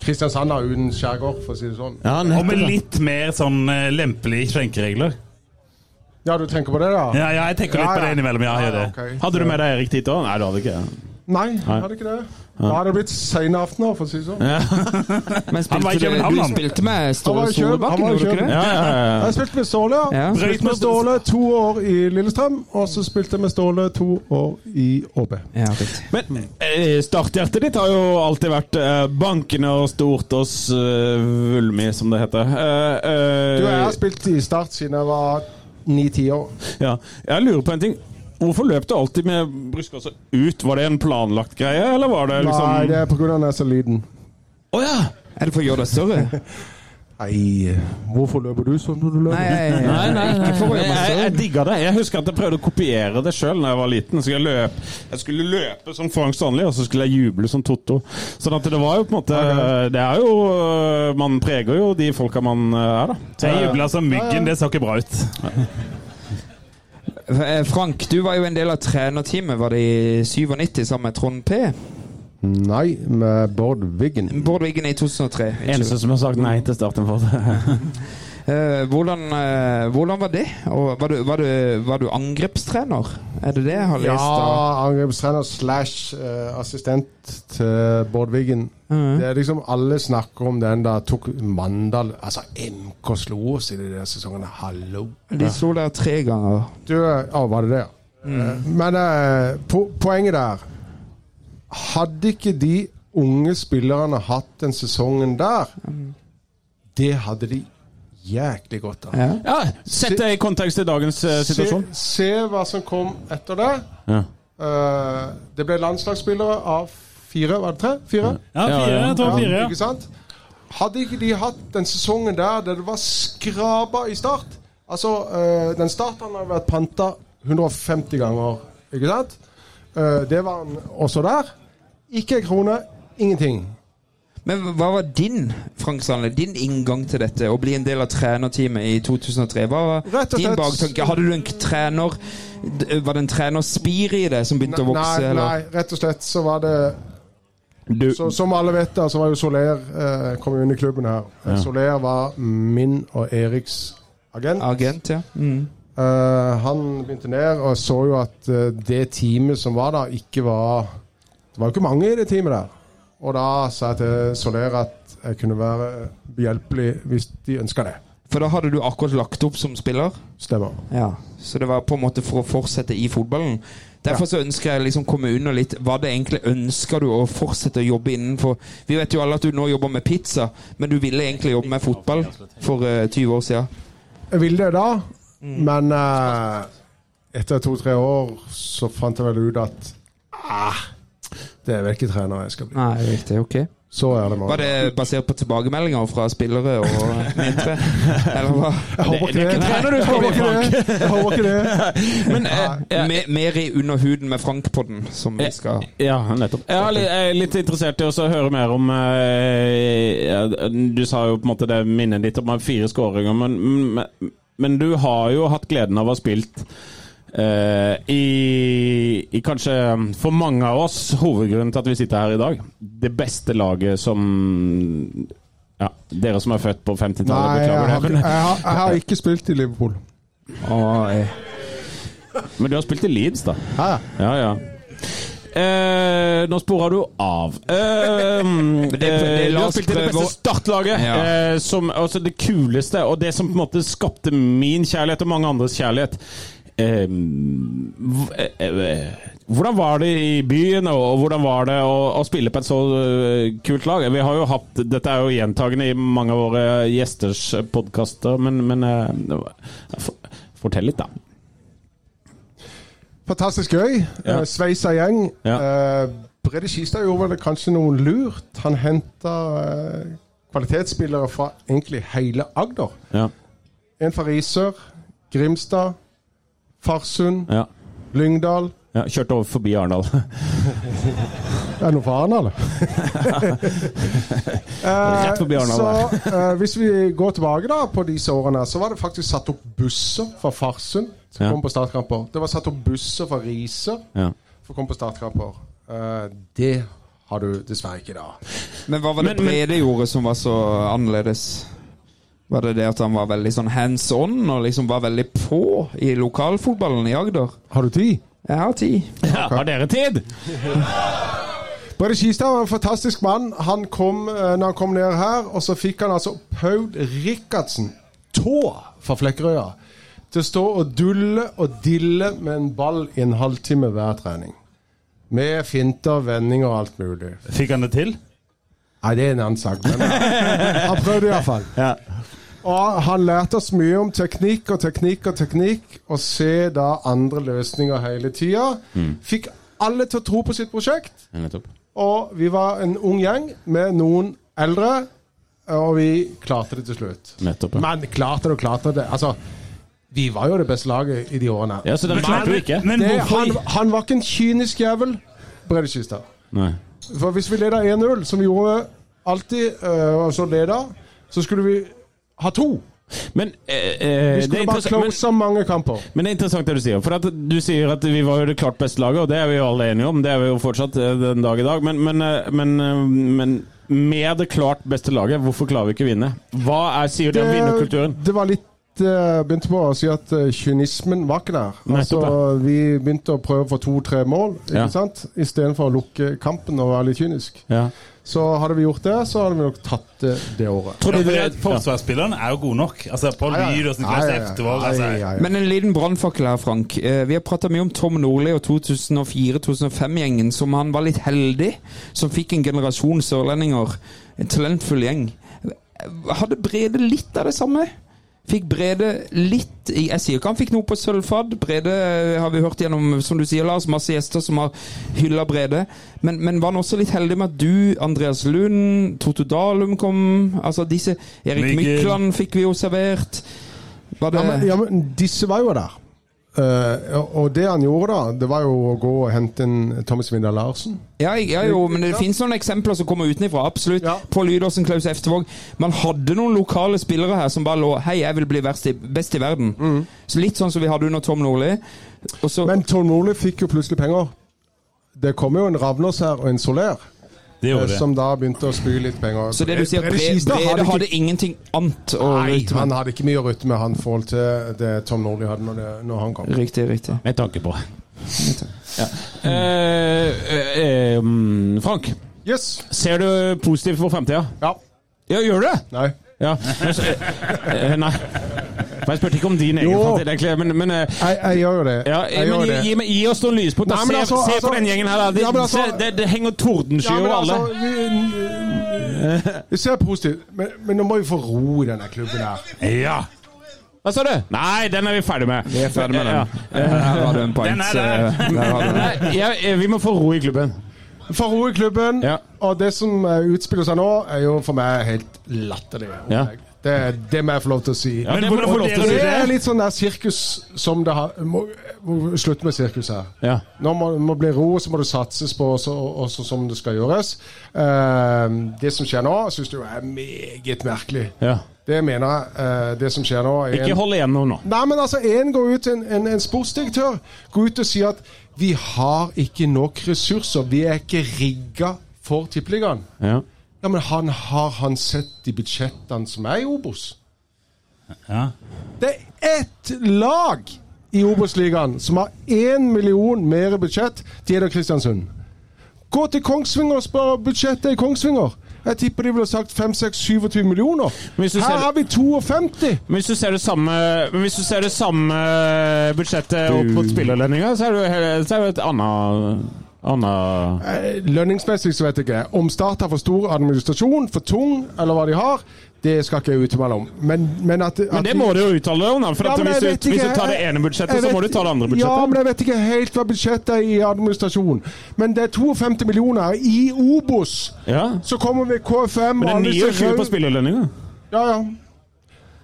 K: Kristiansand da, uten skjærgård, for å si det sånn.
D: ja
E: Og med
D: nettopp, ja.
E: litt mer sånn eh, lempelige skjenkeregler.
K: Ja, du tenker på det, da?
E: Ja, ja, jeg tenker litt
K: Ja,
E: på det
K: ja.
E: innimellom. Ja, jeg
K: Ja,
E: gjør det.
K: ok.
D: Hadde du med deg Erik dit òg? Nei, du hadde ikke det.
K: Nei, jeg hadde ikke det. Da hadde det blitt sene aftener, for å si det sånn.
F: Men
E: Han
F: spilte
E: var i
F: du,
E: København,
F: du
E: han.
F: spilte med
K: Han
F: Ståle
K: var i Køben- han var
F: Solbakken,
K: i
F: gjorde du ikke det?
D: Ja, ja, ja.
K: Jeg spilte med Ståle.
F: Ja.
K: Spilte med Ståle to år i Lillestrøm, og så spilte jeg med Ståle to år i ÅB.
F: Ja, riktig.
D: Men eh, starthjertet ditt har jo alltid vært eh, bankende og stort og svulmig, som det heter. Eh, eh,
K: Du, jeg har spilt i Start siden jeg var ni-ti år.
D: Ja, jeg lurer på en ting. Hvorfor løp du alltid med brystkassa ut? Var det en planlagt greie, eller var det liksom
K: Nei, det er på grunn av at jeg er så liten.
D: Å ja!
F: Er det for å gjøre deg større?
K: <laughs> Nei, eh, hvorfor løper du sånn når du løper?
F: Nei, nei, nei, ikke for å
D: Jeg,
F: gjøre meg
D: jeg, jeg
F: større.
D: digga det. Jeg husker at jeg prøvde å kopiere det sjøl da jeg var liten. Så jeg, løp, jeg skulle løpe som Frank Strandli, og så skulle jeg juble som Totto. Sånn at det var jo på en måte Det er jo Man preger jo de folka man eh, er, da. Så
E: Jeg jubla som myggen, det så ikke bra ut.
F: Eh, Frank, du var jo en del av trenerteamet, var det i 97 sammen med Trond P?
K: Nei, med Bård Wiggen.
F: Bård Wiggen i 2003.
D: eneste som har sagt nei til starten for det.
F: Eh, hvordan, eh, hvordan var det? Og var, du, var, du, var du angrepstrener? Er det det jeg har
K: Ja,
F: lest? av-
K: angrepstrener slash eh, assistent til Bård Wiggen. Det er liksom Alle snakker om den der tok Mandal Altså, MK slo oss i de der sesongene. Hallo!
F: De sto der tre ganger.
K: Du, ja, var det det? ja? Eh, Men eh, po poenget der Hadde ikke de unge spillerne hatt den sesongen der, det hadde de jæklig godt av.
F: Ja.
D: <laughs> Ja, Sett det i kontekst til dagens eh,
K: Se,
D: situasjon.
K: se hva som kom etter det.
D: Ja.
K: Eh, det ble landslagsspillere av fire, var det tre? Fire?
E: Ja,
D: Ja,
E: fire.
D: ja.
E: Jeg tror fire,
K: Ikke
E: ja.
K: sant? Hadde ikke de hatt den sesongen der der det var skrapa i start Altså, eh, den starten har vært panta 150 ganger, ikke sant? Eh, det var han også der. Ikke en krone. Ingenting.
F: Men hva var din Frank Sandle, din inngang til dette, å bli en del av trenerteamet i 2003? Hva var
K: Rett og
F: din
K: slett-
F: baktanke? Hadde du en k- trener d- Var det en trenerspir i det som begynte å vokse?
K: Nei,
F: eller?
K: nei, rett og slett så var det
F: Du-
K: så, Som alle vet, da, så var jo Soler eh, kom jo inn i klubben her.
F: Ja.
K: Soler var min og Eriks agent.
F: Agent, ja. Mm.
K: Eh, han begynte ned og så jo at eh, det teamet som var der, ikke var Det var jo ikke mange i det teamet der. Og da sa jeg til Soler at jeg kunne være behjelpelig hvis de ønska det.
F: For da hadde du akkurat lagt opp som spiller?
K: Stemmer.
F: Ja, Så det var på en måte for å fortsette i fotballen? Derfor så ønsker jeg liksom komme under litt Hva det egentlig ønsker du å fortsette å jobbe innenfor? Vi vet jo alle at du nå jobber med pizza, men du ville egentlig jobbe med fotball for eh, 20 år siden.
K: Jeg ville det da, men eh, etter to-tre år så fant jeg vel ut at ah, det er vel ikke trener jeg skal bli.
F: Nei, riktig, ok
K: Så er det med
F: Var det basert på tilbakemeldinger fra spillere og
K: <laughs>
F: nedtre? Eller hva?
K: Jeg håper ikke Det- det er ikke det. trener du skal bli, Jeg håper ikke det. Frank. Jeg håper ikke det.
F: Men eh, me- mer i underhuden med Frank-podden, som vi skal
D: Ja, nettopp. Jeg er litt, jeg er litt interessert i også å høre mer om eh, ja, Du sa jo på en måte det minnet ditt om fire skåringer, men, men, men du har jo hatt gleden av å ha spilt eh, i, i kanskje, um, for mange av oss, hovedgrunnen til at vi sitter her i dag, det beste laget som ja, Dere som er født på 50-tallet,
K: Nei, jeg
D: beklager
K: har,
D: det.
K: jeg,
D: men-
K: har, jeg har ikke spilt i Liverpool.
D: eh. Men du har spilt i Leeds, da.
K: Ja,
D: ja. Eh, nå sporer du av.
F: <laughs>
D: Eh,
F: det- det-
D: eh, du
F: la
D: har
F: oss
D: spilt i det
F: prøve
D: beste
F: å-
D: startlaget.
F: Ja.
D: Eh, som, altså det kuleste, og det som på en måte skapte min kjærlighet og mange andres kjærlighet. Eh, hv- eh, eh, hvordan var det i byen, og, og hvordan var det å, å spille på et så eh, kult lag? Vi har jo hatt, Dette er jo gjentagende i mange av våre gjesters podkaster, men, men eh, det var- for, Fortell litt, da.
K: Fantastisk gøy.
D: Ja.
K: Eh, Sveisa gjeng.
D: Ja.
K: Eh, Brede Skistad gjorde vel kanskje noe lurt. Han henta eh, kvalitetsspillere fra egentlig hele Agder.
D: Ja.
K: En fra Risør, Grimstad, Farsund,
D: Ja.
K: Lyngdal.
D: Ja, kjørte over forbi
K: <laughs>
D: Arendal.
K: Er det noe for
D: <laughs>
K: Arendal? Eh,
D: Rett forbi Arendal,
K: Så
D: der.
K: eh, hvis vi går tilbake da på disse årene, så var det faktisk satt opp busser fra Farsund som
D: Ja.
K: kom på startkamper. Det var satt opp busser fra Risør
D: Ja.
K: for å komme på startkamper. Eh, det har du dessverre ikke i dag.
F: Men hva var det
K: Men- men-
F: Brede gjorde som var så annerledes? Var det det at han var veldig sånn hands on, og liksom var veldig på i lokalfotballen i Agder?
K: Har du tid?
F: Jeg har tid.
D: har dere tid?
K: Brede Skistad var en fantastisk mann. Han kom, eh, når han kom ned her, og så fikk han altså Paul Rikardsen, tå fra Flekkerøya, til å stå og dulle og dille med en ball i en halvtime hver trening. Med finter, vendinger og alt mulig.
E: Fikk han det til?
K: Nei, det er en annen sak.
E: <laughs>
K: Men eh, han prøvde iallfall.
E: Ja.
K: Og han lærte oss mye om teknikk og teknikk og teknikk, og se da andre løsninger hele tida.
E: Mm.
K: Fikk alle til å tro på sitt prosjekt.
D: Nettopp.
K: Og vi var en ung gjeng med noen eldre, og vi klarte det til slutt.
D: Nettopp, ja.
K: Men klarte det og klarte det. Altså, vi var jo det beste laget i de årene.
D: Ja, så dere
K: Men-
D: klarte det ikke.
E: Men
K: det,
E: hvorfor-
K: han, han var ikke en kynisk jævel, Brede Skystad.
D: Nei.
K: For hvis vi leda 1-0, som vi gjorde alltid, øh, og så leda, så skulle vi ha to.
D: Men, eh, eh,
K: Vi skulle bare
D: det er interess- men,
K: close mange kamper.
D: men det er interessant det du sier. For at du sier at vi var jo det klart beste laget, og det er vi jo alle enige om. Det er vi jo fortsatt eh, den dag i dag. Men, men, eh, men, eh, men med det klart beste laget, hvorfor klarer vi ikke å vinne? Hva er, sier det om vinnerkulturen?
K: Det var litt eh, begynte på å si at eh, kynismen var ikke der. Altså,
D: Nettopp,
K: vi begynte å prøve for to-tre mål
D: Ja.
K: ikke sant? istedenfor å lukke kampen og være litt kynisk.
D: Ja.
K: Så hadde vi gjort det, så hadde vi nok tatt det det året.
D: Tror
E: Ja,
D: du
E: for
D: det,
E: at Forsvarsspillerne er jo gode nok. Altså, på
K: Ja, ja.
E: lyd og sånn.
K: Ja, ja, ja.
E: Eftervold, altså.
K: Ja, ja, ja.
F: Men en liten brannfakkel her, Frank. Eh, Vi har prata mye om Tom Nordli og 2004-2005-gjengen, som han var litt heldig, som fikk en generasjon sørlendinger. En talentfull gjeng. Hadde Brede litt av det samme? Fikk Brede litt Jeg sier ikke han fikk noe på sølvfad. Brede eh, har vi hørt gjennom, som du sier, Lars, masse gjester som har hylla Brede. Men, men var han også litt heldig med at du, Andreas Lund, Toto Dalum kom Altså disse Erik
E: Mikkel.
F: Mykland fikk vi jo servert. Var det
K: Ja, men, ja, men disse var jo der. Eh, og- og det han gjorde da, det var jo å gå og hente en Tommy Svindal Larsen.
F: Ja, jeg- ja jo, men det finnes noen eksempler som kommer utenfra, absolutt. Pål Lydåsen, Klaus Eftevåg. Man hadde noen lokale spillere her som bare lå Hei, jeg vil bli verst i, best i verden. Så Litt sånn som vi hadde under Tom Nordli. Og så-
K: Mm. Men Tom Nordli fikk jo plutselig penger. Det kom jo en Ravnås her og en Soler.
E: Det gjorde
K: eh,
E: det.
K: Som da begynte å spy litt penger.
F: Så det du sier,
K: Brede
F: Brede,
K: Skistad
F: Brede
K: ikke-
F: hadde ingenting annet å
K: Nei,
F: rutte
K: han
F: med.
K: hadde ikke mye å rutte med, han i forhold til det Tom Nordli hadde når, det, når han kom.
F: Riktig, riktig.
D: Med tanke på. Ja. Eh, eh, mm, Frank,
K: Yes!
D: ser du positivt for fremtida?
K: Ja.
D: Ja, gjør du det?
K: Nei.
D: Ja. Men så- eh, Nei. For Jeg spurte ikke om din egen
K: Jo.
D: fremtid, egentlig, men, men eh,
K: Jeg, jeg gjør jo det.
D: ja, eh,
K: Jeg
D: men
K: gjør
D: gi,
K: det.
D: gi, meg- gi oss noen lyspunkt. da.
K: Nei, men
D: se
K: altså-
D: se på
K: altså-
D: den gjengen her. da. Det,
K: Ja, men altså-
D: se, det, det henger tordensky
K: Ja, men
D: over alle.
K: altså, vi- vi ser positivt, men, men nå må vi få ro i denne klubben her.
D: Ja. Hva sa du? Nei, den er vi ferdig med.
F: Vi er ferdig med den.
D: Ja.
K: Eh,
F: Her har du en point.
E: Den er der.
F: eh, der har du den.
D: Nei, jeg- jeg- eh, vi må få ro i klubben.
K: Få ro i klubben,
D: Ja.
K: og det som eh, utspiller seg nå, er jo for meg helt latterlig.
D: Ja.
K: Det, det må jeg få lov til å si.
D: Ja,
E: Men
D: det må
E: hvordan
D: du få lov
E: vurderer
D: til å si
K: det er
D: det?
K: litt sånn der sirkus som det har må, må Slutt med sirkus her.
D: Ja.
K: Nå må det bli ro, så må det satses på også, også som det skal gjøres. Eh, det som skjer nå, syns jeg jo er meget merkelig.
D: Ja.
K: Det mener jeg. eh, det som skjer nå er
D: Ikke hold igjen nå. nå.
K: Nei, men altså, en går ut, en, en, en sportsdirektør går ut og sier at vi har ikke nok ressurser, vi er ikke rigga for tippeligaen.
D: Ja.
K: Ja, men han har han sett de budsjettene som er i Obos?
E: Ja.
K: Det er ett lag i Obos-ligaen som har én million mer i budsjett. De er da Kristiansund. Gå til Kongsvinger og spør om budsjettet i Kongsvinger. Jeg tipper de ville sagt 5-6-27 millioner.
D: Men hvis du
K: Her
D: ser-
K: har vi 52!
D: Men hvis du ser det samme, men hvis du ser det samme eh, budsjettet opp mot spillerlønninga, så er det jo he- så er det jo et annet annet
K: Eh, Lønningsmessig så vet jeg ikke. Om Start har for stor administrasjon, for tung, eller hva de har, det skal ikke jeg uttale meg om. Men, men at, at
D: Men det må du jo uttale deg om, da. For
K: Ja,
D: at
K: men jeg
D: hvis,
K: vet
D: du, hvis
K: ikke,
D: du tar det
K: jeg-
D: ene budsjettet,
K: jeg
D: så må du
K: vet-
D: ta det andre
K: Ja, men
D: budsjettet.
K: jeg vet ikke helt hva budsjettet er i administrasjon. Men det er 52 millioner i Obos.
D: Ja.
K: Så kommer vi KFM og
D: Men
K: alle
D: det
K: disse
D: er 29
K: røde-
D: på spillerlønninga.
K: Ja, ja.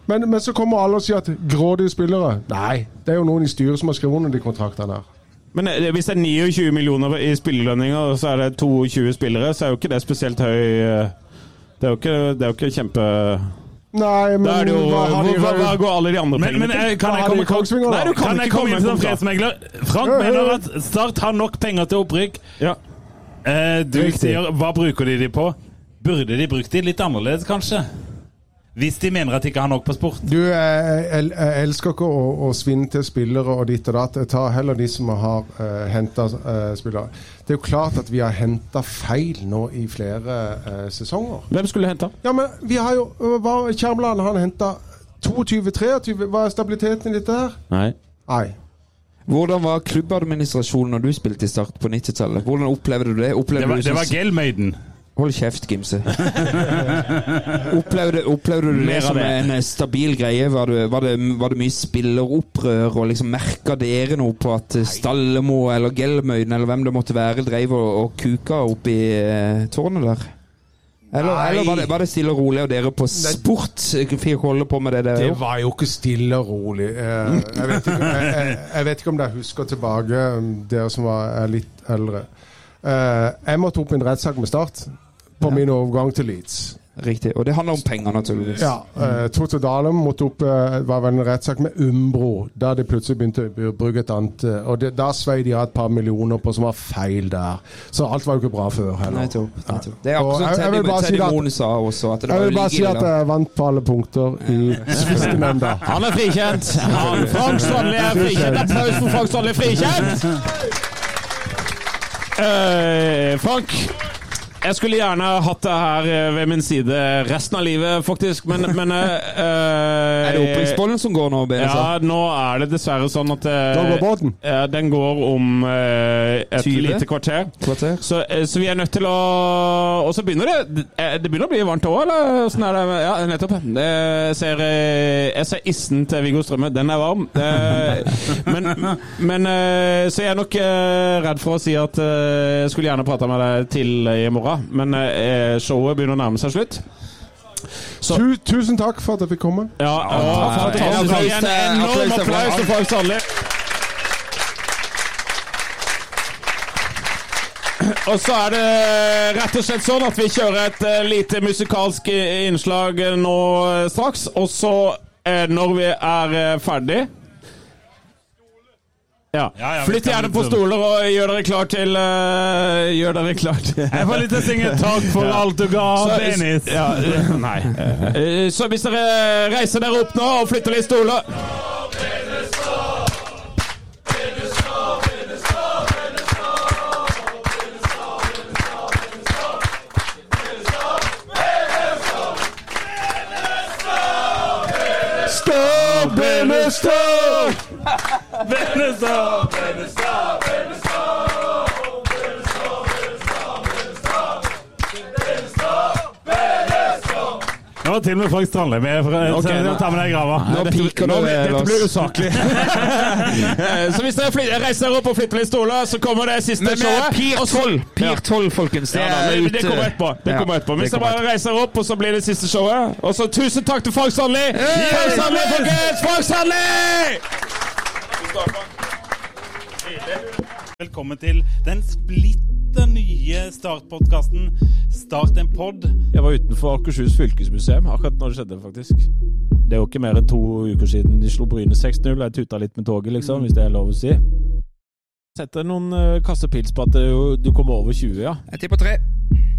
K: Men, men så kommer alle og sier at grådige spillere Nei, det er jo noen i styret som har skrevet under de kontraktene her.
D: Men eh, hvis det er 29 millioner i spillerlønninger, og så er det 22 spillere, så er jo ikke det spesielt høy eh, Det er jo ikke, det er jo ikke kjempe
K: Nei, men
D: Da er det jo
K: hva har de-
D: hvor- hva, hva går alle de andre
E: Men,
D: pengene
E: men
D: til?
E: eh, kan
K: Hva
E: jeg
K: har de
E: komme
K: i Kongsvinger, da?
D: Nei, du kan,
E: Kan jeg
D: ikke
E: komme
D: komme
E: inn som
D: med en
E: fredsmegler? Frank
K: Ja, ja,
E: mener
K: ja.
E: at Start har nok penger til opprykk.
D: Ja.
E: Eh, du
D: Riktig.
E: sier hva bruker de de på? Burde de brukt de litt annerledes, kanskje? Hvis de mener at de ikke har nok på sport.
K: Du, jeg, jeg, jeg elsker ikke å, å svinne til spillere og ditt og datt. Jeg tar heller de som har uh, henta spillere. Det er jo klart at vi har henta feil nå i flere eh, sesonger.
D: Hvem skulle hente?
K: Ja, men vi har jo eh, hva, Kjermeland han henta 22-23. Hva er stabiliteten i dette her?
D: Nei.
K: Nei.
F: Hvordan var klubbadministrasjonen når du spilte i Start på 90-tallet? Hvordan opplevde du det? Opplevde
E: Det var,
F: du
E: det var Gelmøyden.
F: Hold kjeft, Gimse. <laughs> opplevde, opplevde du
D: Mer
F: det
D: av
F: som
D: det.
F: en eh, stabil greie? Var det, var det, var det mye spilleropprør, og liksom merka dere noe på at eh, Stallemo eller Gelmøyden eller hvem det måtte være, dreiv og, og kuka oppi eh, tårnet der? Eller,
K: Nei.
F: eller var, det, var det stille og rolig, og dere på sport eh, fikk holde på med det dere
K: Det
F: gjorde?
K: var jo ikke stille og rolig. Eh, jeg, vet ikke, jeg, jeg, jeg vet ikke om dere husker tilbake, um, dere som var, er litt eldre. Eh, jeg måtte opp i en rettssak med Start på min overgang til Leeds.
F: Riktig. Og det handler om penger, naturligvis.
K: Ja, eh, Torstein Dalum måtte opp eh, var vel en rettssak med Umbro, da de plutselig begynte å br- bruke et annet eh, Og det, da svei de av et par millioner på som var feil der. Så alt var jo ikke bra før heller.
F: Nettopp. nettopp. Det er
K: Og
F: akkurat som
K: jeg- jeg vil
F: Teddy,
K: bare si
F: Teddy
K: at-
F: Moen sa også. At det
K: Jeg
F: var
K: vil bare si
F: like
K: at eh,
F: ille.
K: jeg vant på alle punkter i Fiskenemnda.
D: Han er frikjent! Han, Frank Strandli er frikjent! Applaus for Frank Strandli frikjent! Eh, Frank, jeg skulle gjerne hatt deg her eh, ved min side resten av livet, faktisk, men, men eh, eh,
F: Er det opprykksbollen som går nå, Benestad?
D: Ja, nå er det dessverre sånn at eh,
K: Da går båten.
D: eh, den går om eh, et
F: 20?
D: lite kvarter.
F: Kvarter?
D: Så, eh, så vi er nødt til å Og så begynner det eh, Det begynner å bli varmt òg, eller? Åssen er det? Ja, nettopp. Det- Jeg ser, eh, jeg ser issen til Viggo Strømme. Den er varm. Eh, <laughs> Men, men eh, Så jeg er nok eh, redd for å si at eh, jeg skulle gjerne prata med deg til i morgen, men eh, showet begynner å nærme seg slutt.
K: Tu, tusen takk for at jeg fikk komme.
D: Ja, og fantastisk.
F: Applaus til-
D: En enorm
F: applaus til
D: applaus til Frank Sandli. Og så er det rett og slett sånn at vi kjører et eh, lite musikalsk eh, innslag eh, nå eh, straks. Og så, eh, når vi er eh, ferdig ja.
E: ja, vi
D: Flytt
E: kan
D: gjerne på
E: liksom-
D: stoler og gjør dere klar til eh, Gjør dere klar til Jeg
E: får lyst til å synge 'Takk
D: <laughs>
E: for alt du ga, Dennis'. <laughs>
D: Ja, eh, nei. Eh, Så hvis dere reiser dere opp nå og flytter litt stoler Stå, blinde, stå!
E: Blinde, stå! Det var til og med Frank Strandli med. For,
D: Ok,
E: så,
D: nå-
E: ta med deg i grava.
D: Nå
E: Dette-
D: piker
E: nå-
D: du ved
E: Dette
D: oss.
E: blir usaklig.
D: <laughs> Eh, Så hvis dere fly- reiser dere opp og flytter litt stoler, så kommer det siste
F: Men vi er
D: showet.
F: Pier
D: og så-
F: 12,
D: Ja.
F: Pier 12 folkens. Det,
D: Ja, da,
F: er
D: men Eh, det
F: ute.
D: kommer etterpå. Det
F: Ja,
D: kommer etterpå. Hvis
F: det
D: dere
F: kommer
D: bare reiser opp, og så blir det siste showet. Og så tusen takk til Frank Sandli! Frank Sandli, folkens! Frank Sandli!
E: Velkommen til den splitter nye Start-podkasten Start en pod.
D: Jeg var utenfor Akershus fylkesmuseum akkurat når det skjedde, faktisk. Det er jo ikke mer enn to uker siden de slo Bryne 6-0. Jeg tuta litt med toget, liksom, hvis det er lov å si. Sett deg noen eh, kasser pils på at det er jo- du kommer over 20, ja.
F: Jeg tipper tre.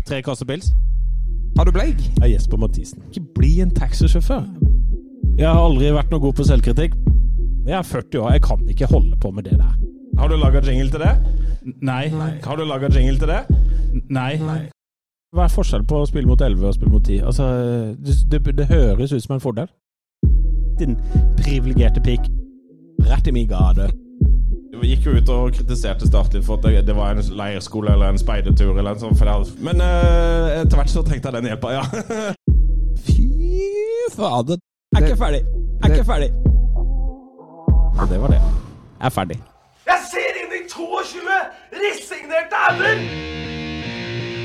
D: Tre kasser pils.
F: Har du bleik?
D: Det er Jesper Mathisen. Ikke bli en taxisjåfør. Jeg har aldri vært noe god på selvkritikk. Jeg er 40 år, jeg kan ikke holde på med det der. Har du laga jingle til det?
E: Nei.
D: Har du laga jingle til det?
E: Nei.
D: Hva er forskjellen på å spille mot 11 og å spille mot 10? Altså, det, det, det høres ut som en fordel. Din privilegerte pikk. Rett i min gate.
L: Vi gikk jo ut og kritiserte Start litt for at det, det var en leirskole eller en speidertur eller en sånn for det hadde- Men eh, etter hvert så trengte jeg den hjelpa, ja. <laughs>
D: Fy fader. Jeg er ikke ferdig. Jeg er ikke ferdig. Og det var det. Jeg er ferdig.
B: Jeg ser inn i 22 resignerte ender!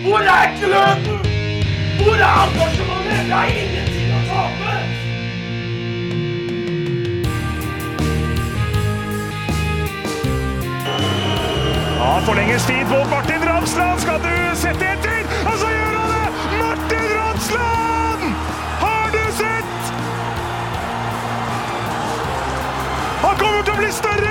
B: Hvor er gløden? Hvor er engasjementet? Jeg har ingenting å tape!
C: Ja, forlenges tid på Martin Ramsland. Skal du sette etter? Og så gjør han det! Martin Ramsland! Har du sett? Han kommer til å bli større